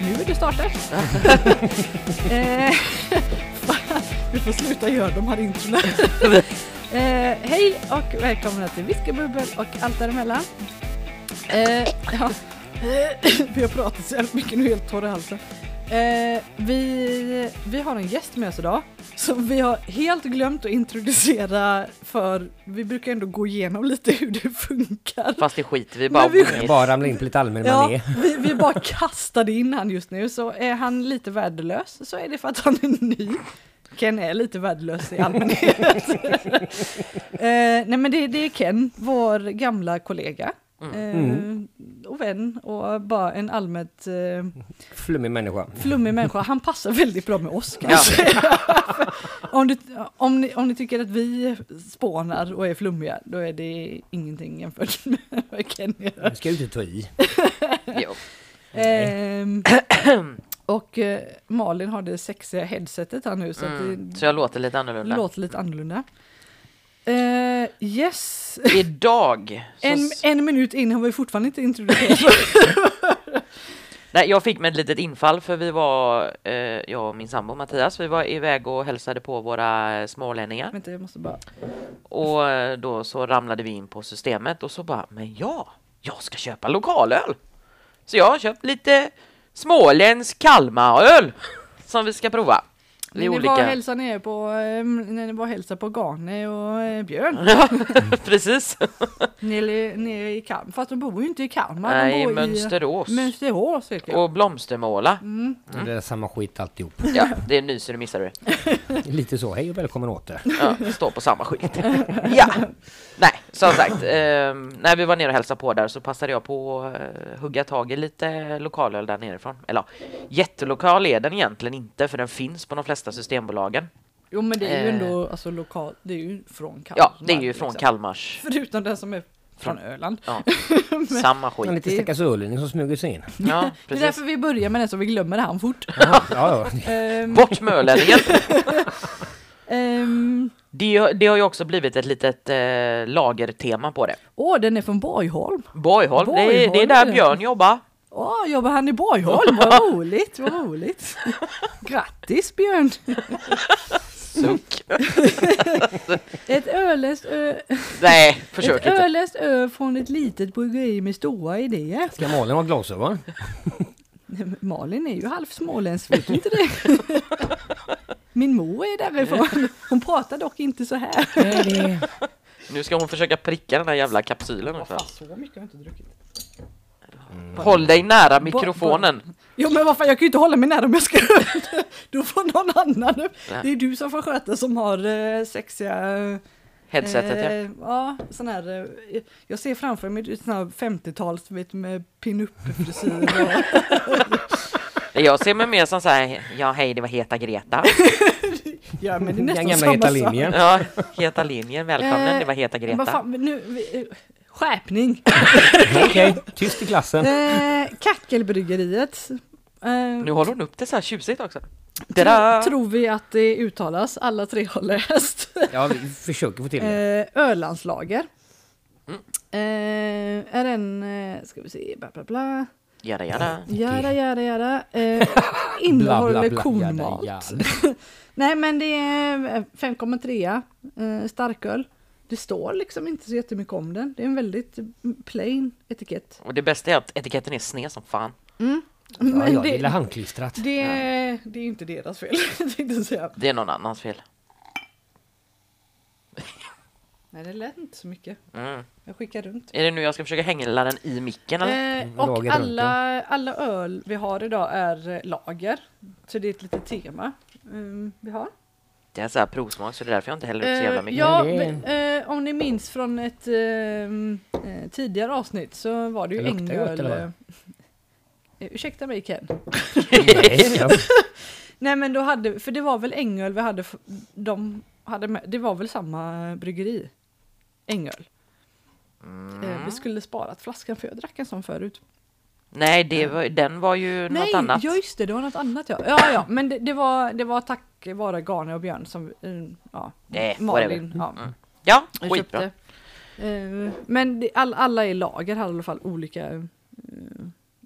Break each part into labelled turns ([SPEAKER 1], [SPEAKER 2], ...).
[SPEAKER 1] nu är du startar. Eh, du får sluta göra de här introna. Eh, hej och välkomna till Whiskybubbel och allt däremellan. Eh, ja. Vi har pratat så jävla mycket nu, är jag helt torr i halsen. Eh, vi, vi har en gäst med oss idag som vi har helt glömt att introducera för vi brukar ändå gå igenom lite hur det funkar.
[SPEAKER 2] Fast det skiter vi bara
[SPEAKER 1] Men vi-
[SPEAKER 2] vi...
[SPEAKER 3] Jag bara ramlar in på lite allmän
[SPEAKER 1] Ja,
[SPEAKER 3] mané.
[SPEAKER 1] vi, vi bara kastade in han just nu, så är han lite värdelös så är det för att han är ny. Ken är lite värdelös i allmänhet. eh, nej men det, det är Ken, vår gamla kollega. Eh, Och vän och bara en allmänt eh,
[SPEAKER 3] Flummig människa.
[SPEAKER 1] flummig människa. Han passar väldigt bra med oss
[SPEAKER 2] Ja.
[SPEAKER 1] kanske. om, du, om, ni, om ni tycker att vi spånar och är flummiga, då är det ingenting jämfört med vad Ken gör.
[SPEAKER 3] Nu ska jag inte ta i.
[SPEAKER 2] Jo.
[SPEAKER 1] Ehm, och eh, Malin har det sexiga headsetet här nu så
[SPEAKER 2] Mm.
[SPEAKER 1] att
[SPEAKER 2] Så jag låter lite
[SPEAKER 1] det
[SPEAKER 2] annorlunda.
[SPEAKER 1] låter lite annorlunda. Eh, yes,
[SPEAKER 2] Idag! Så...
[SPEAKER 1] en, en minut in har vi fortfarande inte introducerat.
[SPEAKER 2] Nej, jag fick mig ett litet infall för vi var, eh, jag och min sambo Mattias, vi var iväg och hälsade på våra eh, smålänningar.
[SPEAKER 1] Vänta, jag måste bara...
[SPEAKER 2] Och eh, då så ramlade vi in på systemet och så bara, men ja, jag ska köpa lokalöl. Så jag har köpt lite småländsk Kalmaröl som vi ska prova. Det
[SPEAKER 1] När
[SPEAKER 2] är
[SPEAKER 1] ni var och
[SPEAKER 2] olika.
[SPEAKER 1] hälsade ner på, ehm, när ni var och hälsade på Gane och eh, Björn,
[SPEAKER 2] Ja, Precis.
[SPEAKER 1] nere, nere i Kalmar, fast de bor ju inte i Kalmar,
[SPEAKER 2] Nej,
[SPEAKER 1] de bor
[SPEAKER 2] Mönsterås.
[SPEAKER 1] i Mönsterås. vet jag.
[SPEAKER 2] Och blomstermåla.
[SPEAKER 3] Det är samma skit alltihop.
[SPEAKER 2] Ja, det är ny så du missar det.
[SPEAKER 3] Lite så, hej och välkommen åter.
[SPEAKER 2] Ja, står på samma skit. Ja. Nej, som sagt. Eh, när vi var nere och hälsade på där så passade jag på att eh, hugga tag i lite lokalöl där nerifrån. Eller ja, jättelokal är den egentligen inte för den finns på de flesta systembolagen.
[SPEAKER 1] Jo men det är ju
[SPEAKER 2] Eh.
[SPEAKER 1] ändå alltså, lokal, det är ju från Kalmar.
[SPEAKER 2] Ja, det är ju från
[SPEAKER 1] liksom.
[SPEAKER 2] Kalmars.
[SPEAKER 1] Förutom den som är från Öland.
[SPEAKER 2] Ja, samma
[SPEAKER 3] En
[SPEAKER 2] skit.
[SPEAKER 3] liten stackars ölänning som smyger sig in.
[SPEAKER 2] Ja,
[SPEAKER 1] Det är därför
[SPEAKER 2] precis.
[SPEAKER 1] vi börjar med den så vi glömmer han fort.
[SPEAKER 3] Ja, ja, ja.
[SPEAKER 1] Ehm,
[SPEAKER 2] Bort med ölänningen!
[SPEAKER 1] ehm,
[SPEAKER 2] Det, det har ju också blivit ett litet eh, lagertema på det.
[SPEAKER 1] Åh, den är från Borgholm.
[SPEAKER 2] Borgholm, det, är- det är
[SPEAKER 1] Borgholm,
[SPEAKER 2] där
[SPEAKER 1] ja.
[SPEAKER 2] Björn jobbar.
[SPEAKER 1] Åh, jobbar han i Borgholm? Vad roligt, vad roligt. Grattis Björn!
[SPEAKER 2] Suck.
[SPEAKER 1] Ett ölöst ö,
[SPEAKER 2] Nej,
[SPEAKER 1] ett
[SPEAKER 2] försök inte.
[SPEAKER 1] ölöst ö från ett litet bryggeri med stora idéer.
[SPEAKER 3] Ska Malin ha glasögon?
[SPEAKER 1] Malin är ju halv småländsk, vet du inte det? Min mor är därifrån. Hon pratar dock inte så här.
[SPEAKER 2] Nu ska hon försöka pricka den här jävla kapsylen också.
[SPEAKER 1] Så mycket har jag inte druckit.
[SPEAKER 2] Håll dig nära mikrofonen.
[SPEAKER 1] Jo men vad fan, jag kan ju inte hålla mig nära om jag ska Då får någon annan upp.
[SPEAKER 2] Nej.
[SPEAKER 1] Det är du som får sköta som har eh, sexiga... eh,
[SPEAKER 2] Headsetet ja.
[SPEAKER 1] eh, ja. sån här... Eh, jag ser framför mig sån här 50-tals vet, med pinup-frisyr. och- Eh.
[SPEAKER 2] Jag ser mig mer som så här, ja hej det var Heta Greta.
[SPEAKER 1] ja men det är
[SPEAKER 3] Den
[SPEAKER 1] nästan
[SPEAKER 3] gamla
[SPEAKER 1] samma
[SPEAKER 3] heta
[SPEAKER 1] sak.
[SPEAKER 3] linjen.
[SPEAKER 2] Ja, Heta linjen, välkommen,
[SPEAKER 1] Eh,
[SPEAKER 2] det var Heta
[SPEAKER 1] Men Vad
[SPEAKER 2] Greta.
[SPEAKER 1] fan, men nu... vi- eh, Skärpning!
[SPEAKER 3] Okej, tyst i klassen.
[SPEAKER 1] eh, kackelbryggeriet. Eh,
[SPEAKER 2] Nu håller hon upp det så här tjusigt också.
[SPEAKER 1] tro,
[SPEAKER 2] Tada!
[SPEAKER 1] tror vi att det uttalas, alla tre har läst.
[SPEAKER 3] Ja, vi försöker få till det. Mm.
[SPEAKER 1] Eh, Ölandslager. Eh, är en, eh, ska vi se, bla bla bla.
[SPEAKER 2] Jada, jada.
[SPEAKER 1] Jada jada jada. Eh,
[SPEAKER 3] Bla, bla,
[SPEAKER 1] innehåller
[SPEAKER 3] bla,
[SPEAKER 1] konmat.
[SPEAKER 3] jada,
[SPEAKER 1] Nej men det är 5,3 eh, starköl. Det står liksom inte så jättemycket om den. Det är en väldigt plain etikett.
[SPEAKER 2] Och det bästa är att etiketten är sned som fan.
[SPEAKER 3] jada. Ja,
[SPEAKER 1] Men
[SPEAKER 3] jag
[SPEAKER 1] det-
[SPEAKER 3] gillar handklistrat.
[SPEAKER 1] Det, det är ju inte deras fel, tänkte jag säga.
[SPEAKER 2] Det är någon annans fel.
[SPEAKER 1] Nej, det lät inte så mycket.
[SPEAKER 2] Mm.
[SPEAKER 1] Jag skickar runt.
[SPEAKER 2] Är det nu jag ska försöka hängla den i micken eller?
[SPEAKER 1] Eh,
[SPEAKER 3] Lager
[SPEAKER 1] och
[SPEAKER 3] runt,
[SPEAKER 1] alla, alla öl vi har idag är eh, lager. Så det är ett litet tema eh, vi har.
[SPEAKER 2] Det är så här provsmak så det är därför jag inte häller upp så jävla
[SPEAKER 1] Eh,
[SPEAKER 2] mycket.
[SPEAKER 1] ja,
[SPEAKER 3] Men det är-
[SPEAKER 1] men, eh, om ni minns från ett eh, eh, tidigare avsnitt så var det ju
[SPEAKER 3] Det luktar gott,
[SPEAKER 1] ängöl.
[SPEAKER 3] eller vad?
[SPEAKER 1] eh, eh, Ursäkta mig Ken.
[SPEAKER 3] Nej, ja.
[SPEAKER 1] Nej men då hade, för det var väl ängöl vi hade, f- de hade med, det var väl samma bryggeri? Ängöl.
[SPEAKER 2] Mm.
[SPEAKER 1] Eh, vi skulle sparat flaskan för jag drack en sån förut.
[SPEAKER 2] Nej, det var, den var ju något annat.
[SPEAKER 1] ja just det, det var något annat ja. Ja, ja men det, det, var, det var tack vare Garne och Björn som, eh, ja,
[SPEAKER 2] Nej,
[SPEAKER 1] Malin. Ja.
[SPEAKER 2] Ja,
[SPEAKER 1] Jag
[SPEAKER 2] Mm. skitbra.
[SPEAKER 1] köpte. Eh, men det, all, alla är lager här i alla fall, olika eh,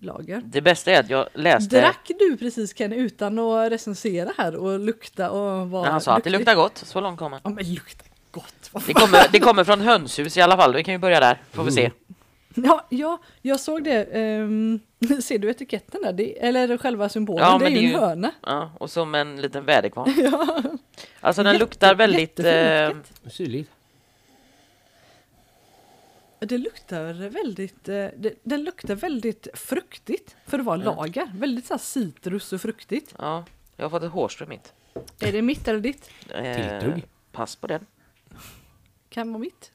[SPEAKER 1] lager.
[SPEAKER 2] Det bästa är att jag läste
[SPEAKER 1] Drack du precis Ken utan att recensera här och lukta och vara
[SPEAKER 2] när han sa att det
[SPEAKER 1] duktig?
[SPEAKER 2] luktar gott. Så långt kom han.
[SPEAKER 1] Ja men luktar gott. vad
[SPEAKER 2] Det
[SPEAKER 1] fan.
[SPEAKER 2] kommer, det kommer från hönshus i alla fall. Vi kan ju börja där. Får vi se.
[SPEAKER 1] Ja, ja, jag såg det. ehm, ser du etiketten där? Det, eller själva symbolen?
[SPEAKER 2] Ja,
[SPEAKER 1] det är
[SPEAKER 2] men
[SPEAKER 1] ju
[SPEAKER 2] det är
[SPEAKER 1] en
[SPEAKER 2] ju-
[SPEAKER 1] hörna.
[SPEAKER 2] Ja, och som en liten väderkvarn.
[SPEAKER 1] Ja.
[SPEAKER 2] Alltså den
[SPEAKER 1] Jätte-
[SPEAKER 2] luktar väldigt...
[SPEAKER 1] jättefin
[SPEAKER 2] eh,
[SPEAKER 1] etikett.
[SPEAKER 3] Syrligt.
[SPEAKER 1] Det luktar väldigt, eh, det, den luktar väldigt fruktigt för att vara lager. Väldigt så här citrus och fruktigt.
[SPEAKER 2] ja, jag har fått ett hårstrå i mitt.
[SPEAKER 1] Är det mitt eller ditt?
[SPEAKER 2] Eh,
[SPEAKER 3] Tilltugg.
[SPEAKER 2] Pass på den.
[SPEAKER 1] Kan vara mitt.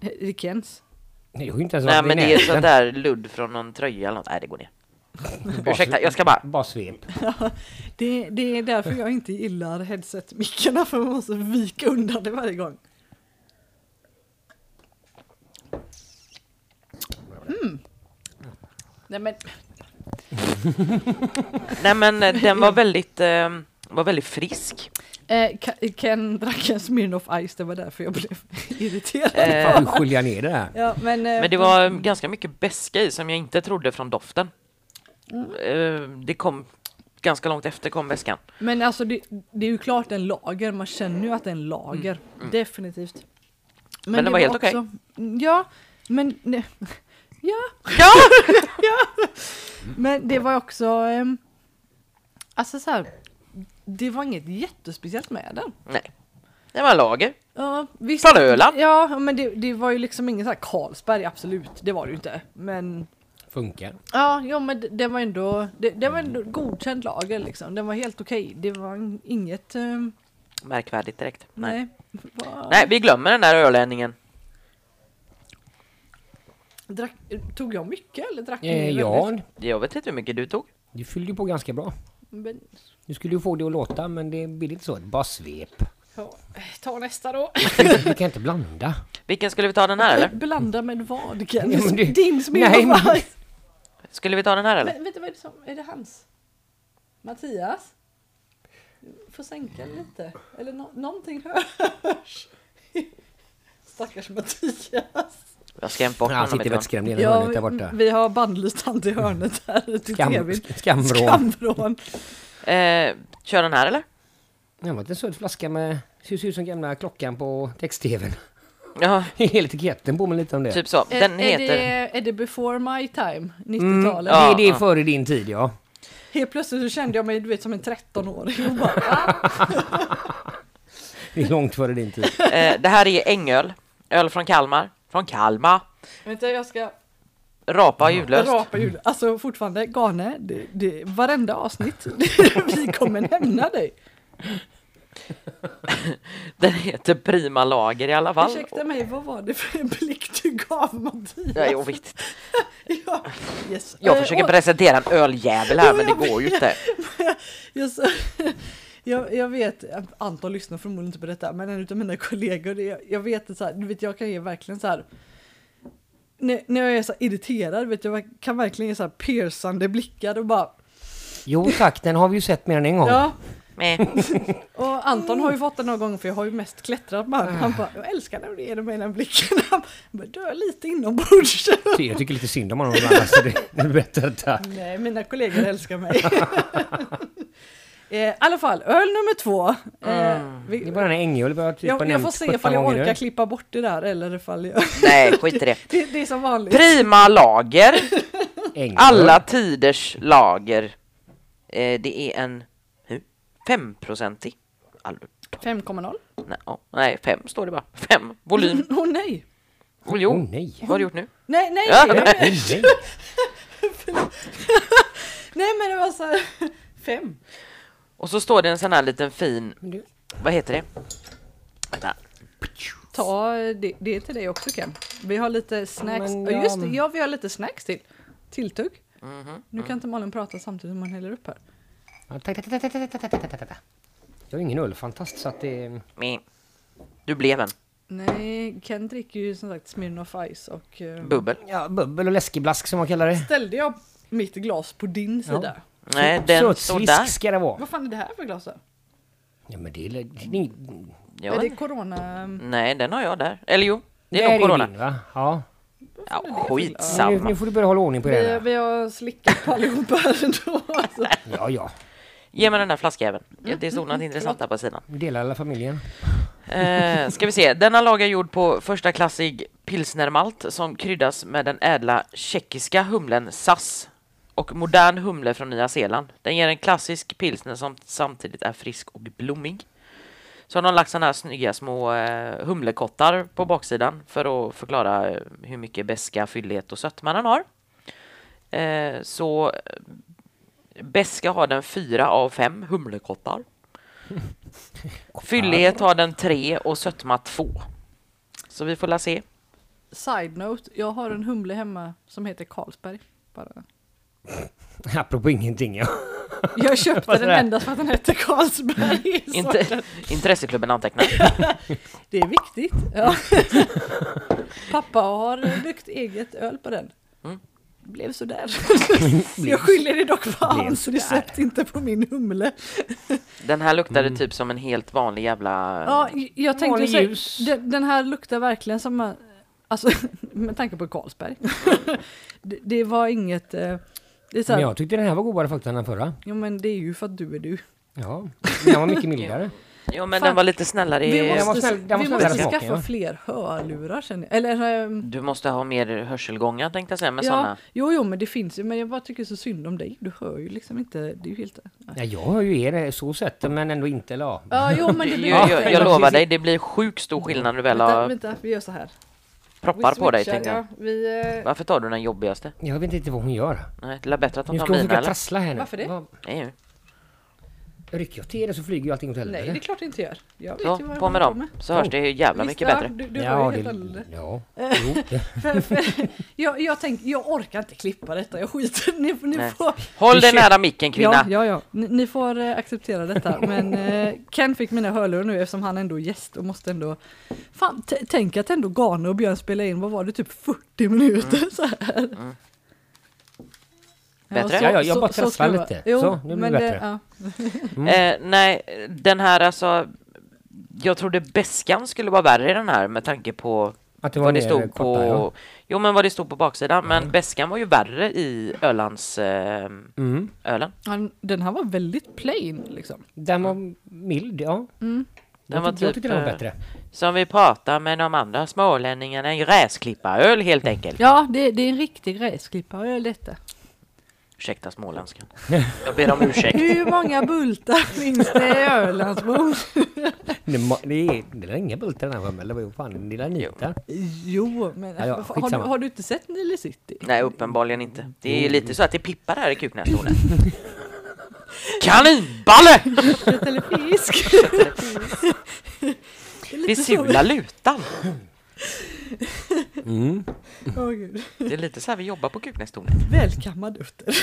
[SPEAKER 1] Eh, Det är Kens.
[SPEAKER 3] Det är ju inte ens
[SPEAKER 2] Nej
[SPEAKER 3] varit i
[SPEAKER 2] men det är
[SPEAKER 3] närheten.
[SPEAKER 2] sånt där ludd från någon tröja eller något. Nej det går ner. Ursäkta, jag ska bara-
[SPEAKER 3] Bara svep.
[SPEAKER 1] Eh. Det, det är därför jag inte gillar headset-mickarna för man måste vika undan det varje gång. Mm. Nej men,
[SPEAKER 2] Nej men eh, den var väldigt, eh, var väldigt frisk.
[SPEAKER 1] eh, Ka- Ken drack en Smirnoff Ice, det var därför jag blev irriterad.
[SPEAKER 2] Eh,
[SPEAKER 3] Fan, hur sköljer jag ner det här?
[SPEAKER 1] Ja, men, eh,
[SPEAKER 2] men det var ganska mycket beska i som jag inte trodde från doften.
[SPEAKER 1] Mm.
[SPEAKER 2] Eh, det kom ganska långt efter kom väskan.
[SPEAKER 1] men alltså det, det är ju klart en lager, man känner ju att det är en lager. Definitivt.
[SPEAKER 2] Mm. Men den var helt okej.
[SPEAKER 1] också- Ja, men... Nej. Ja,
[SPEAKER 2] Ja!
[SPEAKER 1] Men det var också... ehm, Alltså så här, det var inget jättespeciellt med den.
[SPEAKER 2] Nej. Det var en lager.
[SPEAKER 1] Ja, visst,
[SPEAKER 2] Från Öland.
[SPEAKER 1] Ja, men det, det var ju liksom ingen så här Carlsberg, absolut. Det var det ju inte. Men
[SPEAKER 3] Funkar.
[SPEAKER 1] ja, ja men det, det var ändå... Det, det var ändå godkänd lager liksom. Den var helt okej. Det var in- inget... ehm,
[SPEAKER 2] Märkvärdigt direkt. Nej.
[SPEAKER 1] nej. Va-
[SPEAKER 2] Nej, vi glömmer den där ölänningen.
[SPEAKER 1] Drack, tog jag mycket eller drack
[SPEAKER 3] Eh,
[SPEAKER 1] ni
[SPEAKER 3] ja,
[SPEAKER 2] Jag vet inte hur mycket du tog.
[SPEAKER 3] du fyllde ju på ganska bra.
[SPEAKER 1] väldigt? Men,
[SPEAKER 3] Du skulle ju få det att låta men det blir lite så. Bara svep.
[SPEAKER 1] ja, ta nästa då.
[SPEAKER 3] Du kan inte blanda.
[SPEAKER 2] Vilken skulle vi ta den här eller?
[SPEAKER 1] Blanda med vad?
[SPEAKER 3] Ja, men det-
[SPEAKER 1] Ken? Din
[SPEAKER 3] Nej, men-
[SPEAKER 1] sminkfajs?
[SPEAKER 2] Skulle vi ta den här eller?
[SPEAKER 1] Men, vänta, vad är det som, är det hans? Mattias? Du får sänka lite, eller nå- någonting hörs. Stackars Mattias.
[SPEAKER 2] Jag ska hämta bort
[SPEAKER 3] Han
[SPEAKER 2] honom
[SPEAKER 3] sitter
[SPEAKER 2] ifrån.
[SPEAKER 3] vettskrämd i ena hörnet där borta. Mm.
[SPEAKER 1] vi har bannlyst han till hörnet här till
[SPEAKER 3] Skam,
[SPEAKER 1] tvn.
[SPEAKER 3] skamvrån.
[SPEAKER 1] Skamvrån.
[SPEAKER 2] Eh, kör den här eller?
[SPEAKER 3] Det var en söt flaska med... Ser ut som gamla klockan på text-tvn.
[SPEAKER 2] Ja,
[SPEAKER 3] Hela etiketten påminner lite om det.
[SPEAKER 2] typ så. Den
[SPEAKER 1] Eh, är,
[SPEAKER 2] heter...
[SPEAKER 1] det, är det before my time, 90-talet?
[SPEAKER 2] ja.
[SPEAKER 3] Mm. det, det är före din tid ja.
[SPEAKER 1] Helt plötsligt så kände jag mig du vet, som en 13-åring. och bara, "Va?"
[SPEAKER 3] Det är långt före din tid.
[SPEAKER 2] Eh, det här är Ängöl. Öl från Kalmar. Från Kalmar.
[SPEAKER 1] Vänta, jag ska
[SPEAKER 2] Rapa ljudlöst.
[SPEAKER 1] rapa jul. Alltså fortfarande, Gane, det, det, varenda avsnitt, vi kommer nämna dig.
[SPEAKER 2] Den heter Prima Lager i alla fall.
[SPEAKER 1] Ursäkta mig, vad var det för en blick du gav Mattias?
[SPEAKER 2] Ja, jag vet inte.
[SPEAKER 1] Ja, yes.
[SPEAKER 2] Jag
[SPEAKER 1] Eh,
[SPEAKER 2] försöker
[SPEAKER 1] och-
[SPEAKER 2] presentera en öljävel här men
[SPEAKER 1] Jo,
[SPEAKER 2] det
[SPEAKER 1] jag
[SPEAKER 2] går ju inte.
[SPEAKER 1] Yes. Jag, jag vet, Anton lyssnar förmodligen inte på detta, men en av mina kollegor, det- jag, jag vet att så här, du vet jag kan ge verkligen så här när, när jag är så här irriterad, vet jag, jag kan verkligen ge så här piercande blickar och bara
[SPEAKER 3] Jo tack, den har vi ju sett mer än en gång.
[SPEAKER 1] ja.
[SPEAKER 2] Nej.
[SPEAKER 1] Och Anton har ju fått den någon gång för jag har ju mest klättrat med honom. Han bara, jag älskar när du ger mig den blicken. Han bara, du är lite inombords.
[SPEAKER 3] Så Jag tycker lite synd om honom ibland. Så det det är bättre detta.
[SPEAKER 1] Nej, mina kollegor älskar mig. Eh, I alla fall, öl nummer två. Eh, vi,
[SPEAKER 3] Det är bara den här Ängöl vi har typ
[SPEAKER 1] jag, jag
[SPEAKER 3] nämnt
[SPEAKER 1] får se
[SPEAKER 3] 17
[SPEAKER 1] ifall jag
[SPEAKER 3] gånger nu.
[SPEAKER 1] orkar klippa bort det där eller ifall jag...
[SPEAKER 2] Nej, skit i det.
[SPEAKER 1] det, det är som vanligt.
[SPEAKER 2] Prima Lager.
[SPEAKER 3] Ängöl.
[SPEAKER 2] Alla tiders lager. Eh, det är en hur? 5-procentig. Aldrig.
[SPEAKER 1] 5,0.
[SPEAKER 2] Nej, ja. nej, fem står det bara. Fem. Volym.
[SPEAKER 1] Åh oh, nej!
[SPEAKER 2] Och jo,
[SPEAKER 3] Åh, nej.
[SPEAKER 2] vad har du gjort nu?
[SPEAKER 1] Nej, nej!
[SPEAKER 2] Ja.
[SPEAKER 1] jag menar-
[SPEAKER 3] Nej, nej.
[SPEAKER 1] nej men det var så här... Fem.
[SPEAKER 2] Och så står det en sån här liten fin,
[SPEAKER 3] Men du-
[SPEAKER 2] vad heter det? Vänta.
[SPEAKER 1] Ta eh, det, det är till dig också Ken. Vi har lite snacks.
[SPEAKER 3] Men
[SPEAKER 1] Ja,
[SPEAKER 3] jag-
[SPEAKER 1] just det, ja vi har lite snacks till. Tilltugg. Nu kan inte Malin prata samtidigt som man häller upp här.
[SPEAKER 3] Ja, tack, tack, tack, tack, tack, tack, tack, tack, tack. Jag är ingen ölfantast så att det...
[SPEAKER 2] Meh. Du blev en
[SPEAKER 1] Nej, Ken dricker ju som sagt Smirnoff Ice och... eh,
[SPEAKER 2] bubbel.
[SPEAKER 3] Ja, bubbel och läskeblask som man kallar det.
[SPEAKER 1] Ställde jag mitt glas på din sida?
[SPEAKER 2] Nej,
[SPEAKER 3] Mm.
[SPEAKER 2] den står där.
[SPEAKER 3] Sötsvisk ska det vara.
[SPEAKER 1] Vad fan är det här för glas då?
[SPEAKER 3] Ja, men det är... Det är
[SPEAKER 2] Jag
[SPEAKER 1] är
[SPEAKER 2] vet
[SPEAKER 1] det
[SPEAKER 2] inte.
[SPEAKER 1] corona?
[SPEAKER 2] Nej, den har jag där. Eller jo, det
[SPEAKER 3] där
[SPEAKER 2] är nog corona.
[SPEAKER 3] din, va? Ja.
[SPEAKER 1] Vad
[SPEAKER 2] Ja,
[SPEAKER 1] fan är det för-
[SPEAKER 3] Ja, nu, nu
[SPEAKER 2] skitsamma.
[SPEAKER 3] får du börja hålla ordning på det
[SPEAKER 1] Vi,
[SPEAKER 3] här.
[SPEAKER 1] vi har slickat på allihopa här ändå. Alltså.
[SPEAKER 3] Ja, ja.
[SPEAKER 2] Ge mig den där flaskjäveln. Det står något intressant där på sidan.
[SPEAKER 3] Vi delar alla familjen.
[SPEAKER 2] Eh, ska vi se. Denna lag är gjord på första klassig pilsnermalt som kryddas med den ädla tjeckiska humlen Sass och modern humle från Nya Zeeland. Den ger en klassisk pilsner som samtidigt är frisk och blommig. Så har de lagt sådana här snygga små eh, humlekottar på baksidan för att förklara eh, hur mycket beska, fyllighet och sötma den har. Eh, så eh, beska har den fyra av fem humlekottar. Fyllighet har den 3 och sötma 2. Så vi får la se.
[SPEAKER 1] Side-note, jag har en humle hemma som heter Carlsberg. Bara.
[SPEAKER 3] Apropå ingenting ja.
[SPEAKER 1] Jag köpte
[SPEAKER 3] Vad är
[SPEAKER 1] den
[SPEAKER 3] det?
[SPEAKER 1] endast för att den heter Carlsberg. Så
[SPEAKER 2] Inte, intresseklubben antecknar.
[SPEAKER 1] Det är viktigt. Ja. Pappa har byggt eget öl på den.
[SPEAKER 2] Mm.
[SPEAKER 1] Blev sådär. Jag skyller det dock på
[SPEAKER 3] Blev
[SPEAKER 1] hans recept, inte på min humle.
[SPEAKER 2] Den här luktade
[SPEAKER 3] Mm.
[SPEAKER 2] typ som en helt vanlig jävla...
[SPEAKER 1] Ja, jag tänkte
[SPEAKER 3] Vanlig
[SPEAKER 1] så,
[SPEAKER 3] ljus.
[SPEAKER 1] den, den här luktar verkligen som, alltså med tanke på Carlsberg. Det, det var inget, eh, det är så här,
[SPEAKER 3] Men jag tyckte den här var godare faktiskt än den förra.
[SPEAKER 1] jo men det är ju för att du är du.
[SPEAKER 3] Ja. Den var mycket mildare.
[SPEAKER 2] Jo, men
[SPEAKER 1] fan.
[SPEAKER 2] den var lite snällare.
[SPEAKER 1] Vi
[SPEAKER 2] i...
[SPEAKER 3] den var
[SPEAKER 1] måste,
[SPEAKER 3] snäll- den var
[SPEAKER 1] vi
[SPEAKER 3] snällare
[SPEAKER 1] måste
[SPEAKER 3] smaken,
[SPEAKER 1] skaffa
[SPEAKER 3] ja.
[SPEAKER 1] fler hörlurar känner jag. Eller, ehm,
[SPEAKER 2] Du måste ha mer hörselgångar tänkte jag säga med
[SPEAKER 1] ja,
[SPEAKER 2] såna.
[SPEAKER 1] jo jo men det finns ju, men jag bara tycker så synd om dig. Du hör ju liksom inte, det är ju helt... Ja,
[SPEAKER 3] Ja, jag hör ju er så sett men ändå inte. Eller, ja.
[SPEAKER 1] jo men det
[SPEAKER 2] Jag,
[SPEAKER 1] blir...
[SPEAKER 2] jag, jag
[SPEAKER 3] Ja,
[SPEAKER 2] lovar
[SPEAKER 3] precis.
[SPEAKER 2] dig, det blir sjukt stor skillnad när du väl
[SPEAKER 1] Vänta,
[SPEAKER 2] har
[SPEAKER 1] vänta, vi gör så här.
[SPEAKER 2] proppar
[SPEAKER 1] Vi
[SPEAKER 2] på dig.
[SPEAKER 1] switchar,
[SPEAKER 2] Tänkte jag.
[SPEAKER 1] ja, vi, eh,
[SPEAKER 2] Varför tar du den jobbigaste?
[SPEAKER 3] Jag vet inte vad hon gör.
[SPEAKER 2] Nej, det är bättre att de
[SPEAKER 3] Nu
[SPEAKER 2] tar
[SPEAKER 3] ska hon
[SPEAKER 2] mina
[SPEAKER 3] försöka
[SPEAKER 2] eller?
[SPEAKER 3] trassla här nu.
[SPEAKER 1] Varför det?
[SPEAKER 3] Vad-
[SPEAKER 2] Nej, ju.
[SPEAKER 3] Rycker jag till det så flyger ju allting åt
[SPEAKER 1] nej det är
[SPEAKER 3] helvete.
[SPEAKER 1] klart det inte gör. Jag vet ju vad
[SPEAKER 2] Så,
[SPEAKER 1] jag
[SPEAKER 2] på med
[SPEAKER 1] håller
[SPEAKER 2] dem. Så hörs det ju jävla mycket
[SPEAKER 1] Visst, ja,
[SPEAKER 2] bättre.
[SPEAKER 1] Du, du ja, helt annorlunda.
[SPEAKER 3] Ja, jo. det-
[SPEAKER 1] För, för, jag, jag, tänk, jag orkar inte klippa detta, jag skiter ni, ni
[SPEAKER 2] Nej.
[SPEAKER 1] får...
[SPEAKER 2] Håll
[SPEAKER 3] Vi
[SPEAKER 2] dig
[SPEAKER 3] kör-
[SPEAKER 2] nära micken
[SPEAKER 1] Ja,
[SPEAKER 2] kvinna.
[SPEAKER 1] ja, ja. Ni, ni får eh, acceptera detta, men eh, Ken fick mina hörlurar nu eftersom han ändå är gäst och måste ändå... Fan, t- tänk att ändå Gane och Björn spelade in, vad var det, typ 40 minuter så här.
[SPEAKER 2] Bättre?
[SPEAKER 1] så-
[SPEAKER 3] Ja, ja, jag
[SPEAKER 1] så-
[SPEAKER 3] bara
[SPEAKER 1] så
[SPEAKER 3] trasslar
[SPEAKER 1] ska det vara.
[SPEAKER 3] lite.
[SPEAKER 1] Jo,
[SPEAKER 3] Så, nu blir det
[SPEAKER 1] men
[SPEAKER 3] bättre.
[SPEAKER 1] ja.
[SPEAKER 3] Mm.
[SPEAKER 2] Eh, nej, den här alltså... Jag trodde beskan skulle vara värre i den här med tanke på
[SPEAKER 3] Att
[SPEAKER 2] vad det
[SPEAKER 3] mer
[SPEAKER 2] stod
[SPEAKER 3] korta,
[SPEAKER 2] på...
[SPEAKER 3] ja.
[SPEAKER 2] Jo men vad det stod på baksidan, men beskan var ju värre i Ölands... Eh,
[SPEAKER 3] Mm.
[SPEAKER 2] ölen.
[SPEAKER 1] Han- Den här var väldigt plain liksom.
[SPEAKER 3] Den var mild, ja.
[SPEAKER 1] Mm.
[SPEAKER 2] Den
[SPEAKER 3] Jag,
[SPEAKER 2] var
[SPEAKER 3] tyck- jag
[SPEAKER 2] typ,
[SPEAKER 3] tyckte den var
[SPEAKER 2] eh,
[SPEAKER 3] bättre.
[SPEAKER 2] Som vi pratar med de andra smålänningarna, en gräsklipparöl helt
[SPEAKER 3] Mm.
[SPEAKER 2] enkelt.
[SPEAKER 1] Ja, det, det är en riktig gräsklippare detta.
[SPEAKER 2] Ursäkta småländskan. Jag ber om ursäkt.
[SPEAKER 1] Hur många bultar finns det i Ölandsbron?
[SPEAKER 3] Det ma- Det är, det är inga bultar i den här för mig, eller vad fan, det är nitar.
[SPEAKER 1] Jo, men
[SPEAKER 3] Ja, ja,
[SPEAKER 1] har, du,
[SPEAKER 3] skitsamma.
[SPEAKER 1] har du inte sett Nile City?
[SPEAKER 2] Nej, uppenbarligen inte. Det är lite så att det pippar här i kuknäshålet. Kaninballe!
[SPEAKER 1] Kött eller fisk? Det är lite
[SPEAKER 2] Vi
[SPEAKER 1] så-
[SPEAKER 2] sular lutan.
[SPEAKER 1] Åh, gud.
[SPEAKER 2] Det är lite så här vi jobbar på kuknästornet.
[SPEAKER 1] Välkammad utter.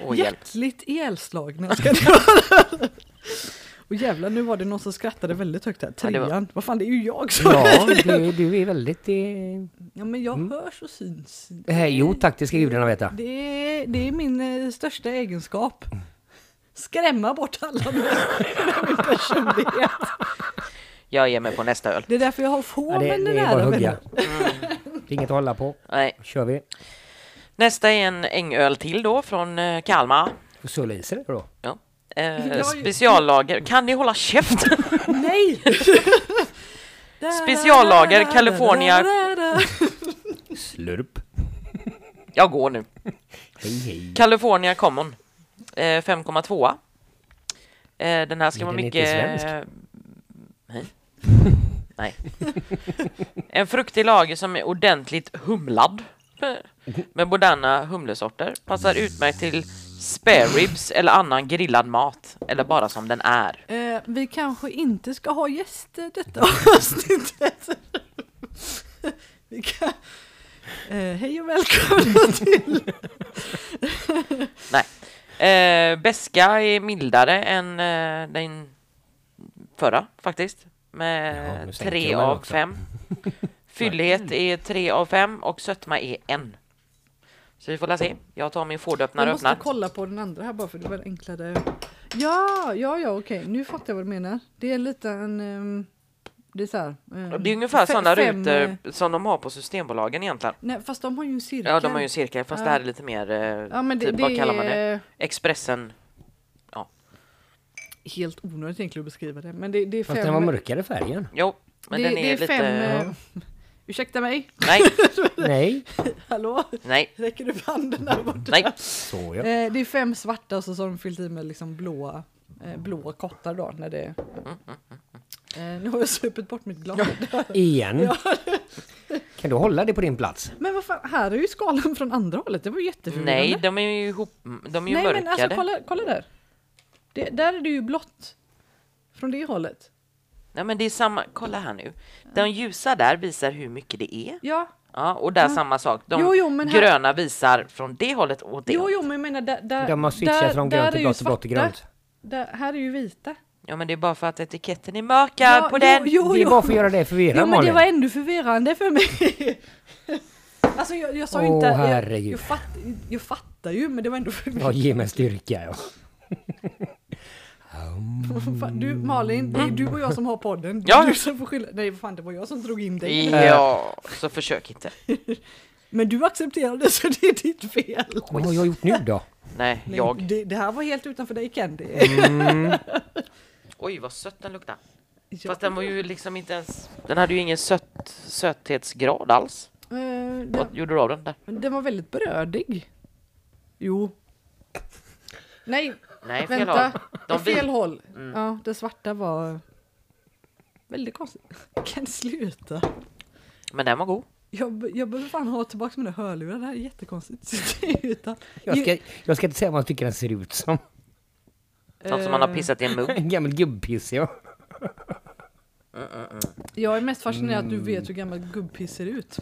[SPEAKER 2] Åh, hjälp.
[SPEAKER 1] Hjärtligt elslagna ska ni vara. Och jävlar, nu var det någon som skrattade väldigt högt här.
[SPEAKER 2] Ja, det var-
[SPEAKER 1] Trean. Vad fan, det är ju jag som...
[SPEAKER 3] Ja, du, du är väldigt... Eh,
[SPEAKER 1] Ja, men jag hörs och syns.
[SPEAKER 3] det här, jo tack, det ska gudarna veta.
[SPEAKER 1] Det är, det är min eh, största egenskap. Skrämma bort alla med med min personlighet.
[SPEAKER 2] Jag ger mig på nästa öl.
[SPEAKER 1] Det är därför jag har få
[SPEAKER 3] Ja, det,
[SPEAKER 1] vänner
[SPEAKER 3] det är bara
[SPEAKER 1] nära
[SPEAKER 3] att
[SPEAKER 1] vänner.
[SPEAKER 3] hugga. Det är inget att hålla på.
[SPEAKER 2] Nej.
[SPEAKER 3] kör vi.
[SPEAKER 2] Nästa är en ängöl till då från eh, Kalmar.
[SPEAKER 3] Får Söla i sig det då.
[SPEAKER 2] Ja. Eh,
[SPEAKER 1] Ja, ju-
[SPEAKER 2] speciallager. Kan ni hålla käften?
[SPEAKER 1] Nej!
[SPEAKER 2] Speciallager, California.
[SPEAKER 3] Slurp.
[SPEAKER 2] Jag går nu.
[SPEAKER 3] Hej hej.
[SPEAKER 2] California Common. Eh, 5,2. Eh, den här ska
[SPEAKER 3] Är
[SPEAKER 2] vara
[SPEAKER 3] den inte
[SPEAKER 2] mycket...
[SPEAKER 3] svensk?
[SPEAKER 2] Nej. Nej. En fruktig lager som är ordentligt humlad. eh, Med moderna humlesorter. Passar utmärkt till spare ribs eller annan grillad mat. Eller bara som den är.
[SPEAKER 1] Eh, vi kanske inte ska ha gäster detta avsnittet. vi kan... eh, hej och välkomna till...
[SPEAKER 2] Nej. Eh, beska är mildare än eh, den förra faktiskt.
[SPEAKER 3] Ja, nu
[SPEAKER 2] Med
[SPEAKER 3] sänker
[SPEAKER 2] tre
[SPEAKER 3] de den
[SPEAKER 2] av
[SPEAKER 3] också.
[SPEAKER 2] fem. Fyllighet är tre av fem och sötma är en. Så vi får la se. Jag tar min Ford-öppnare
[SPEAKER 1] Jag
[SPEAKER 2] och
[SPEAKER 1] måste
[SPEAKER 2] öppnar.
[SPEAKER 1] kolla på den andra här bara för det var enklare. Ja, ja, ja, okej, nu fattar jag vad du menar. Det är en liten... ehm, Det är så här, eh,
[SPEAKER 2] Det är ungefär
[SPEAKER 1] fe-
[SPEAKER 2] sådana
[SPEAKER 1] fem, eh,
[SPEAKER 2] rutor som de har på Systembolagen egentligen.
[SPEAKER 1] Nej, fast de har ju en cirkel.
[SPEAKER 2] Ja, de har ju en cirkel, fast
[SPEAKER 1] Ja.
[SPEAKER 2] det här är lite mer, eh,
[SPEAKER 1] Ja, men det,
[SPEAKER 2] typ,
[SPEAKER 1] det
[SPEAKER 2] vad kallar man det?
[SPEAKER 1] är
[SPEAKER 2] Expressen.
[SPEAKER 1] helt onödigt egentligen att beskriva det. Men det, det är fem...
[SPEAKER 3] Fast den var mörkare färgen.
[SPEAKER 2] Jo, men
[SPEAKER 1] det,
[SPEAKER 2] den är,
[SPEAKER 1] det är
[SPEAKER 2] lite...
[SPEAKER 1] fem... Eh, ursäkta mig?
[SPEAKER 2] Nej,
[SPEAKER 3] Nej.
[SPEAKER 1] Hallå?
[SPEAKER 2] nej,
[SPEAKER 1] Räcker du upp handen där borta?
[SPEAKER 2] nej.
[SPEAKER 3] Så ja.
[SPEAKER 1] Eh, det är fem svarta och så har de fyllt i med liksom blåa, eh, blåa kottar då. När det... Eh, nu har jag supit bort mitt glas.
[SPEAKER 3] Igen. Kan du hålla det på din plats?
[SPEAKER 1] Men vad fan, här är ju skalan från andra hållet. Det var ju jätteförvirrande.
[SPEAKER 2] Nej, de är ju ihop... De är ju
[SPEAKER 1] Nej
[SPEAKER 2] mörkade.
[SPEAKER 1] men alltså kolla, kolla där. Det, där är det ju blått. Från det hållet.
[SPEAKER 2] Nej, men det är samma... Kolla här nu. Den ljusa där visar hur mycket det är.
[SPEAKER 1] Ja,
[SPEAKER 2] Ja, och där samma sak. De
[SPEAKER 1] Jo, jo, men här-
[SPEAKER 2] gröna visar från det hållet och det.
[SPEAKER 1] jo, jo men jag menar där, där
[SPEAKER 3] De har
[SPEAKER 1] där-
[SPEAKER 3] switchat från
[SPEAKER 1] där
[SPEAKER 3] grönt
[SPEAKER 1] är
[SPEAKER 3] till
[SPEAKER 1] ju
[SPEAKER 3] blått till blått till
[SPEAKER 1] svarta.
[SPEAKER 3] grönt.
[SPEAKER 1] Där, här är ju vita.
[SPEAKER 2] Ja, men det är bara för att etiketten är mörkad
[SPEAKER 1] Ja,
[SPEAKER 2] på den.
[SPEAKER 1] Jo, jo,
[SPEAKER 3] Det är
[SPEAKER 1] jo.
[SPEAKER 3] bara för att göra det
[SPEAKER 1] jo
[SPEAKER 3] förvirrande
[SPEAKER 1] men det
[SPEAKER 3] Malin.
[SPEAKER 1] var ännu förvirrande för mig. alltså jag, jag sa ju
[SPEAKER 3] Åh,
[SPEAKER 1] inte... Jag,
[SPEAKER 3] herregud.
[SPEAKER 1] jag, fatt, jag fattar ju men det var ändå
[SPEAKER 3] Ja,
[SPEAKER 1] förvirrande.
[SPEAKER 3] ge mig styrka ja. Mm.
[SPEAKER 1] Fan, Du Malin, det är du och jag som har podden. Det är
[SPEAKER 2] Ja.
[SPEAKER 1] Du som får skylla. Nej fan det var jag som drog in dig.
[SPEAKER 2] Ja, så försök inte.
[SPEAKER 1] Men du accepterade så det är ditt fel.
[SPEAKER 3] Vad har jag gjort nu då?
[SPEAKER 2] Nej,
[SPEAKER 1] Nej,
[SPEAKER 2] jag. Mm.
[SPEAKER 1] Det, det här var helt utanför dig Ken. Det,
[SPEAKER 2] Oj, vad sött den luktar.
[SPEAKER 1] Ja.
[SPEAKER 2] Fast den var ju liksom inte ens... Den hade ju ingen sött, söthetsgrad alls.
[SPEAKER 1] Eh, den,
[SPEAKER 2] Vad gjorde du av den där?
[SPEAKER 1] den var väldigt brödig. Jo. Nej,
[SPEAKER 2] Nej, fel
[SPEAKER 1] vänta.
[SPEAKER 2] håll.
[SPEAKER 1] De
[SPEAKER 2] De
[SPEAKER 1] fel
[SPEAKER 2] vi- Mm.
[SPEAKER 1] håll. Ja, det svarta var väldigt konstigt. Kan sluta?
[SPEAKER 2] Men den var god.
[SPEAKER 1] Jag, be- jag behöver fan ha tillbaka mina hörlurar. Det här är jättekonstigt. Sluta.
[SPEAKER 3] Jag ska, jag ska inte säga vad jag tycker den ser ut som.
[SPEAKER 2] Något som man
[SPEAKER 1] Eh.
[SPEAKER 2] har pissat i en mugg.
[SPEAKER 3] En gammal gubbpiss ja.
[SPEAKER 1] Jag är mest fascinerad att du
[SPEAKER 3] Mm.
[SPEAKER 1] vet hur gammal gubbpiss ser ut.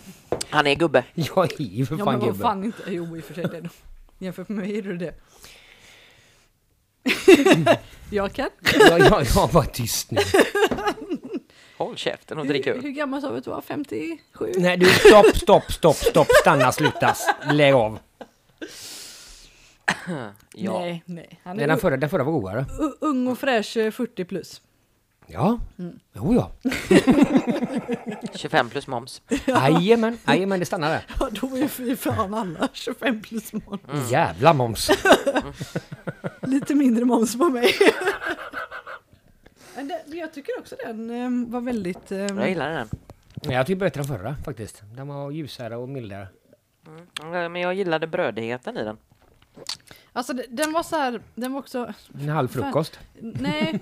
[SPEAKER 2] Han är gubbe.
[SPEAKER 3] Jag är ju för
[SPEAKER 1] Ja
[SPEAKER 3] fan
[SPEAKER 1] men vad
[SPEAKER 3] gubbe.
[SPEAKER 1] fan inte. Jo i och för sig det. är nog- Jämfört med mig är du det. jag kan.
[SPEAKER 3] Jag, jag, jag var tyst nu.
[SPEAKER 2] Håll käften och drick
[SPEAKER 1] Hur,
[SPEAKER 2] öl.
[SPEAKER 1] hur gammal sa vi att du var? 57?
[SPEAKER 3] Nej du, stopp, stopp, stopp, stopp, stanna, sluta, lägg av.
[SPEAKER 2] Ja.
[SPEAKER 1] Nej, nej. Han
[SPEAKER 3] Den,
[SPEAKER 1] är
[SPEAKER 3] här
[SPEAKER 1] u-
[SPEAKER 3] förra, den förra var godare.
[SPEAKER 1] u- ung och fräsch eh, 40 plus.
[SPEAKER 3] Ja, jo ja.
[SPEAKER 2] 25 plus moms.
[SPEAKER 3] Jajamän, jajamän, det stannar där.
[SPEAKER 1] Ja, då är fy fan alla 25 plus moms.
[SPEAKER 2] Mm.
[SPEAKER 3] Mm. Jävla moms.
[SPEAKER 1] Lite mindre moms på mig. Men det, jag tycker också den eh, var väldigt... ehm,
[SPEAKER 2] Jag gillar den.
[SPEAKER 3] Nej, Jag tycker bättre än förra faktiskt. Den var ljusare och mildare.
[SPEAKER 2] Mm, Men jag gillade brödigheten i den.
[SPEAKER 1] alltså det- den var så här, den var också...
[SPEAKER 3] En halv frukost.
[SPEAKER 1] Nej,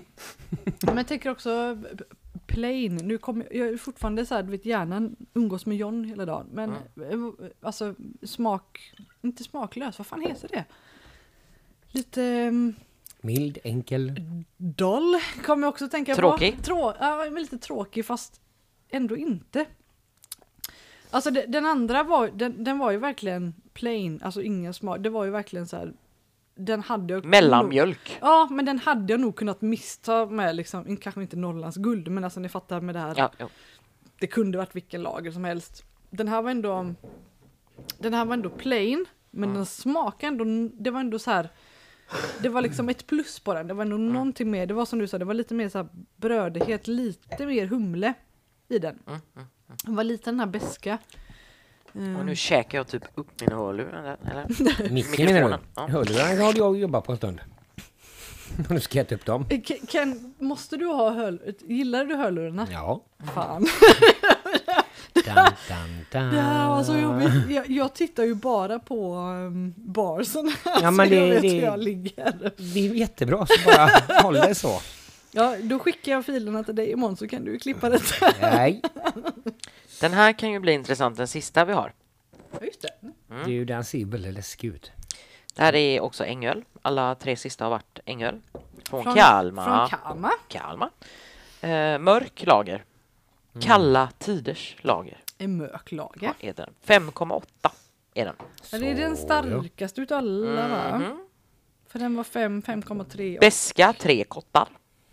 [SPEAKER 1] men jag tänker också b- plain. Nu kommer jag är fortfarande så här, du vet hjärnan umgås med John hela dagen. Men
[SPEAKER 2] Mm.
[SPEAKER 1] eh, alltså smak, inte smaklös, vad fan heter det? Lite... ehm,
[SPEAKER 3] Mild, enkel.
[SPEAKER 1] Doll kommer jag också att tänka på.
[SPEAKER 2] Tråkig.
[SPEAKER 1] Trå- ja, men lite tråkig fast ändå inte. Alltså de- den andra var, den, den var ju verkligen plain, alltså ingen smak. Det var ju verkligen så här. Den hade jag...
[SPEAKER 2] Mellanmjölk.
[SPEAKER 1] Ja, men den hade jag nog kunnat missta med liksom, in- kanske inte Norrlands guld, men alltså ni fattar med det här.
[SPEAKER 2] Ja, ja.
[SPEAKER 1] Det kunde varit vilken lager som helst. Den här var ändå, den här var ändå plain, men
[SPEAKER 3] Mm.
[SPEAKER 1] den smakade ändå, det var ändå så här. Det var liksom ett plus på den, det var ändå
[SPEAKER 3] Mm.
[SPEAKER 1] någonting mer, det var som du sa, det var lite mer så här brödighet, lite mer humle i den.
[SPEAKER 3] Mm,
[SPEAKER 1] Den var lite den här beska.
[SPEAKER 2] Och nu käkar jag typ upp mina hörlurar. där, Eller?
[SPEAKER 3] Micken menar
[SPEAKER 2] Mikrofonen,
[SPEAKER 3] du?
[SPEAKER 2] ja.
[SPEAKER 3] Hörlurarna har jag jobbat på en stund. Nu ska jag äta upp dem.
[SPEAKER 1] Eh, Ken- Ken, måste du ha hörlurar? Gillar du hörlurarna?
[SPEAKER 3] Ja.
[SPEAKER 1] Fan.
[SPEAKER 3] Dan, dan, dan.
[SPEAKER 1] Det här var så jobbigt. alltså, Jag, jag tittar ju bara på um, barsen här,
[SPEAKER 3] Ja, men
[SPEAKER 1] så jag
[SPEAKER 3] det-
[SPEAKER 1] vet
[SPEAKER 3] det-
[SPEAKER 1] hur jag ligger.
[SPEAKER 3] Det är jättebra, så bara håll det så.
[SPEAKER 1] Ja, då skickar jag filerna till dig imorgon så kan du klippa det där.
[SPEAKER 3] Nej,
[SPEAKER 2] Den här kan ju bli intressant, den sista vi har.
[SPEAKER 1] Ja, Just det.
[SPEAKER 2] Mm.
[SPEAKER 3] du den ser ju väldigt läskig ut.
[SPEAKER 2] Det här är också Ängöl. Alla tre sista har varit Ängöl. Från,
[SPEAKER 1] Från
[SPEAKER 2] Kalmar.
[SPEAKER 1] Kalmar.
[SPEAKER 2] Kalmar. Eh, mörk lager. Kalla tiders lager
[SPEAKER 1] En möklager.
[SPEAKER 2] är den. 5,8 är den.
[SPEAKER 1] Ja, det är den
[SPEAKER 3] Så,
[SPEAKER 1] starkaste utav alla va? För den var 5, 5,3. och-
[SPEAKER 2] Beska tre kottar.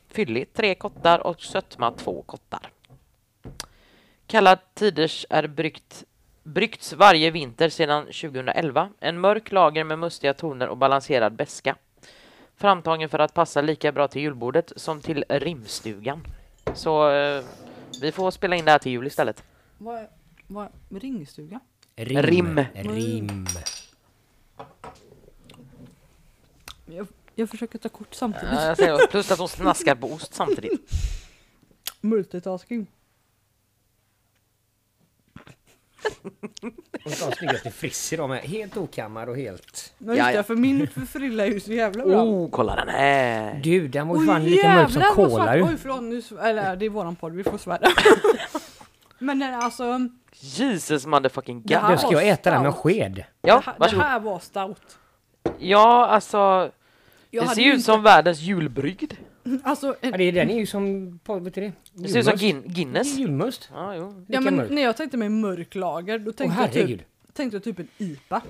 [SPEAKER 2] Fylligt tre kottar och sötma två kottar. Kallad Tiders är bryggt, bryggts varje vinter sedan 2011. En mörk lager med mustiga toner och balanserad beska. Framtagen för att passa lika bra till julbordet som till rimstugan. Så eh, Vi får spela in det här till jul istället.
[SPEAKER 1] Vad, vad, ringstuga?
[SPEAKER 3] Rim.
[SPEAKER 2] Rim.
[SPEAKER 1] Mm.
[SPEAKER 3] Rim.
[SPEAKER 1] Jag, jag försöker ta kort samtidigt.
[SPEAKER 2] Ja, jag säger, plus att hon snaskar på ost samtidigt.
[SPEAKER 1] Multitasking.
[SPEAKER 3] Hon ska ha snyggaste friss idag med. Helt okammad och helt...
[SPEAKER 1] Men just
[SPEAKER 2] Jaja.
[SPEAKER 1] det, för min frilla är ju så jävla bra.
[SPEAKER 2] Oh, kolla den här!
[SPEAKER 3] Du, den var ju
[SPEAKER 1] Oj,
[SPEAKER 3] fan lika mörk som
[SPEAKER 1] jävlar, vad
[SPEAKER 3] kola
[SPEAKER 1] svart.
[SPEAKER 3] ju.
[SPEAKER 1] Oj förlåt, nu, sv- eller det är våran podd, vi får svära. Men den, alltså,
[SPEAKER 2] Jesus motherfucking
[SPEAKER 1] Det här
[SPEAKER 2] god!
[SPEAKER 3] Den ska jag äta den med
[SPEAKER 1] stout.
[SPEAKER 3] sked.
[SPEAKER 2] Ja,
[SPEAKER 1] det, här, det
[SPEAKER 2] varsågod.
[SPEAKER 1] här var stout.
[SPEAKER 2] Ja, alltså.
[SPEAKER 1] Jag
[SPEAKER 2] det
[SPEAKER 1] hade
[SPEAKER 2] ser
[SPEAKER 1] ju
[SPEAKER 2] ut som världens julbrygd.
[SPEAKER 1] inte- Alltså, en,
[SPEAKER 3] Ja, det, den är ju som... Vad heter det?
[SPEAKER 2] Det ser ut som Guin-
[SPEAKER 3] Julmust. Det är
[SPEAKER 2] Guinness.
[SPEAKER 3] Julmust.
[SPEAKER 2] Ja, jo.
[SPEAKER 1] ja,
[SPEAKER 3] Lika
[SPEAKER 1] men,
[SPEAKER 3] mörk.
[SPEAKER 1] när jag tänkte mig mörk lager, då
[SPEAKER 3] Åh
[SPEAKER 1] tänkte, jag,
[SPEAKER 3] herregud.
[SPEAKER 1] typ, tänkte jag typ en IPA.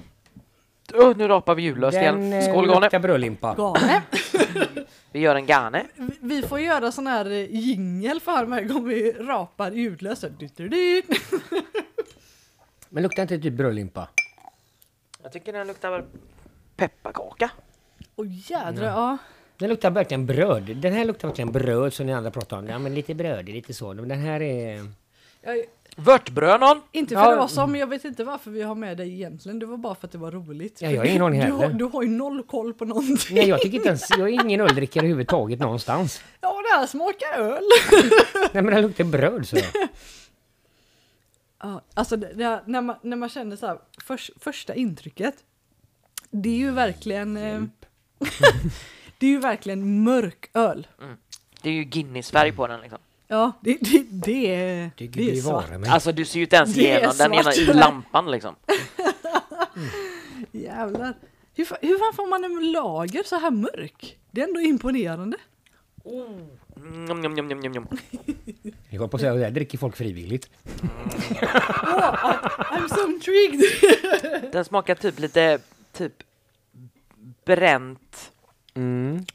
[SPEAKER 2] Öh, nu rapar vi jullöst
[SPEAKER 3] Den
[SPEAKER 2] igen.
[SPEAKER 3] eh,
[SPEAKER 2] Skål Gane!
[SPEAKER 3] luktar brödlimpa.
[SPEAKER 1] Gane.
[SPEAKER 2] Vi gör en Gane.
[SPEAKER 1] Vi- Vi får göra sån här eh, jingel för varje gång vi rapar ljudlöst. Så du- du- du.
[SPEAKER 3] Men luktar inte typ brödlimpa?
[SPEAKER 2] Jag tycker den luktar väl pepparkaka.
[SPEAKER 1] Åh jädrar, ja.
[SPEAKER 3] Den luktar verkligen bröd. Den här luktar verkligen bröd som ni andra pratar om. Ja men lite bröd, lite så. Men den här är...
[SPEAKER 1] Jag,
[SPEAKER 2] Vörtbröd någon?
[SPEAKER 1] inte
[SPEAKER 3] Ja.
[SPEAKER 1] för att vara som, jag vet inte varför vi har med dig egentligen. Det var bara för att det var roligt.
[SPEAKER 3] Ja, jag har ingen aning
[SPEAKER 1] du, har,
[SPEAKER 3] heller.
[SPEAKER 1] du har ju noll koll på någonting.
[SPEAKER 3] Nej jag tycker inte ens... Jag är ingen öldrickare överhuvudtaget någonstans.
[SPEAKER 1] Ja, det här smakar öl.
[SPEAKER 3] Nej men den luktar bröd så.
[SPEAKER 1] Ja, alltså det, det, här- när, man, när man känner så här, förs- första intrycket. Det är ju verkligen... Eh, det är ju verkligen mörk öl.
[SPEAKER 2] Det är ju Guinness-färg på den liksom.
[SPEAKER 1] Ja, det, det, det är...
[SPEAKER 3] Du
[SPEAKER 1] det är
[SPEAKER 3] gud
[SPEAKER 1] svart.
[SPEAKER 3] bevare mig.
[SPEAKER 2] Alltså du ser ju inte ens
[SPEAKER 1] Det är
[SPEAKER 2] igenom den ena
[SPEAKER 1] svart.
[SPEAKER 2] i lampan liksom.
[SPEAKER 1] Jävlar. Hur, fa- hur fan får man en lager så här mörk? Det är ändå imponerande.
[SPEAKER 2] Njom, njom, njom, njom, njom, njom.
[SPEAKER 3] Jag höll på att säga, där dricker folk frivilligt.
[SPEAKER 1] Ah, I'm so intrigued!
[SPEAKER 2] Den smakar typ lite, typ bränt. Mm.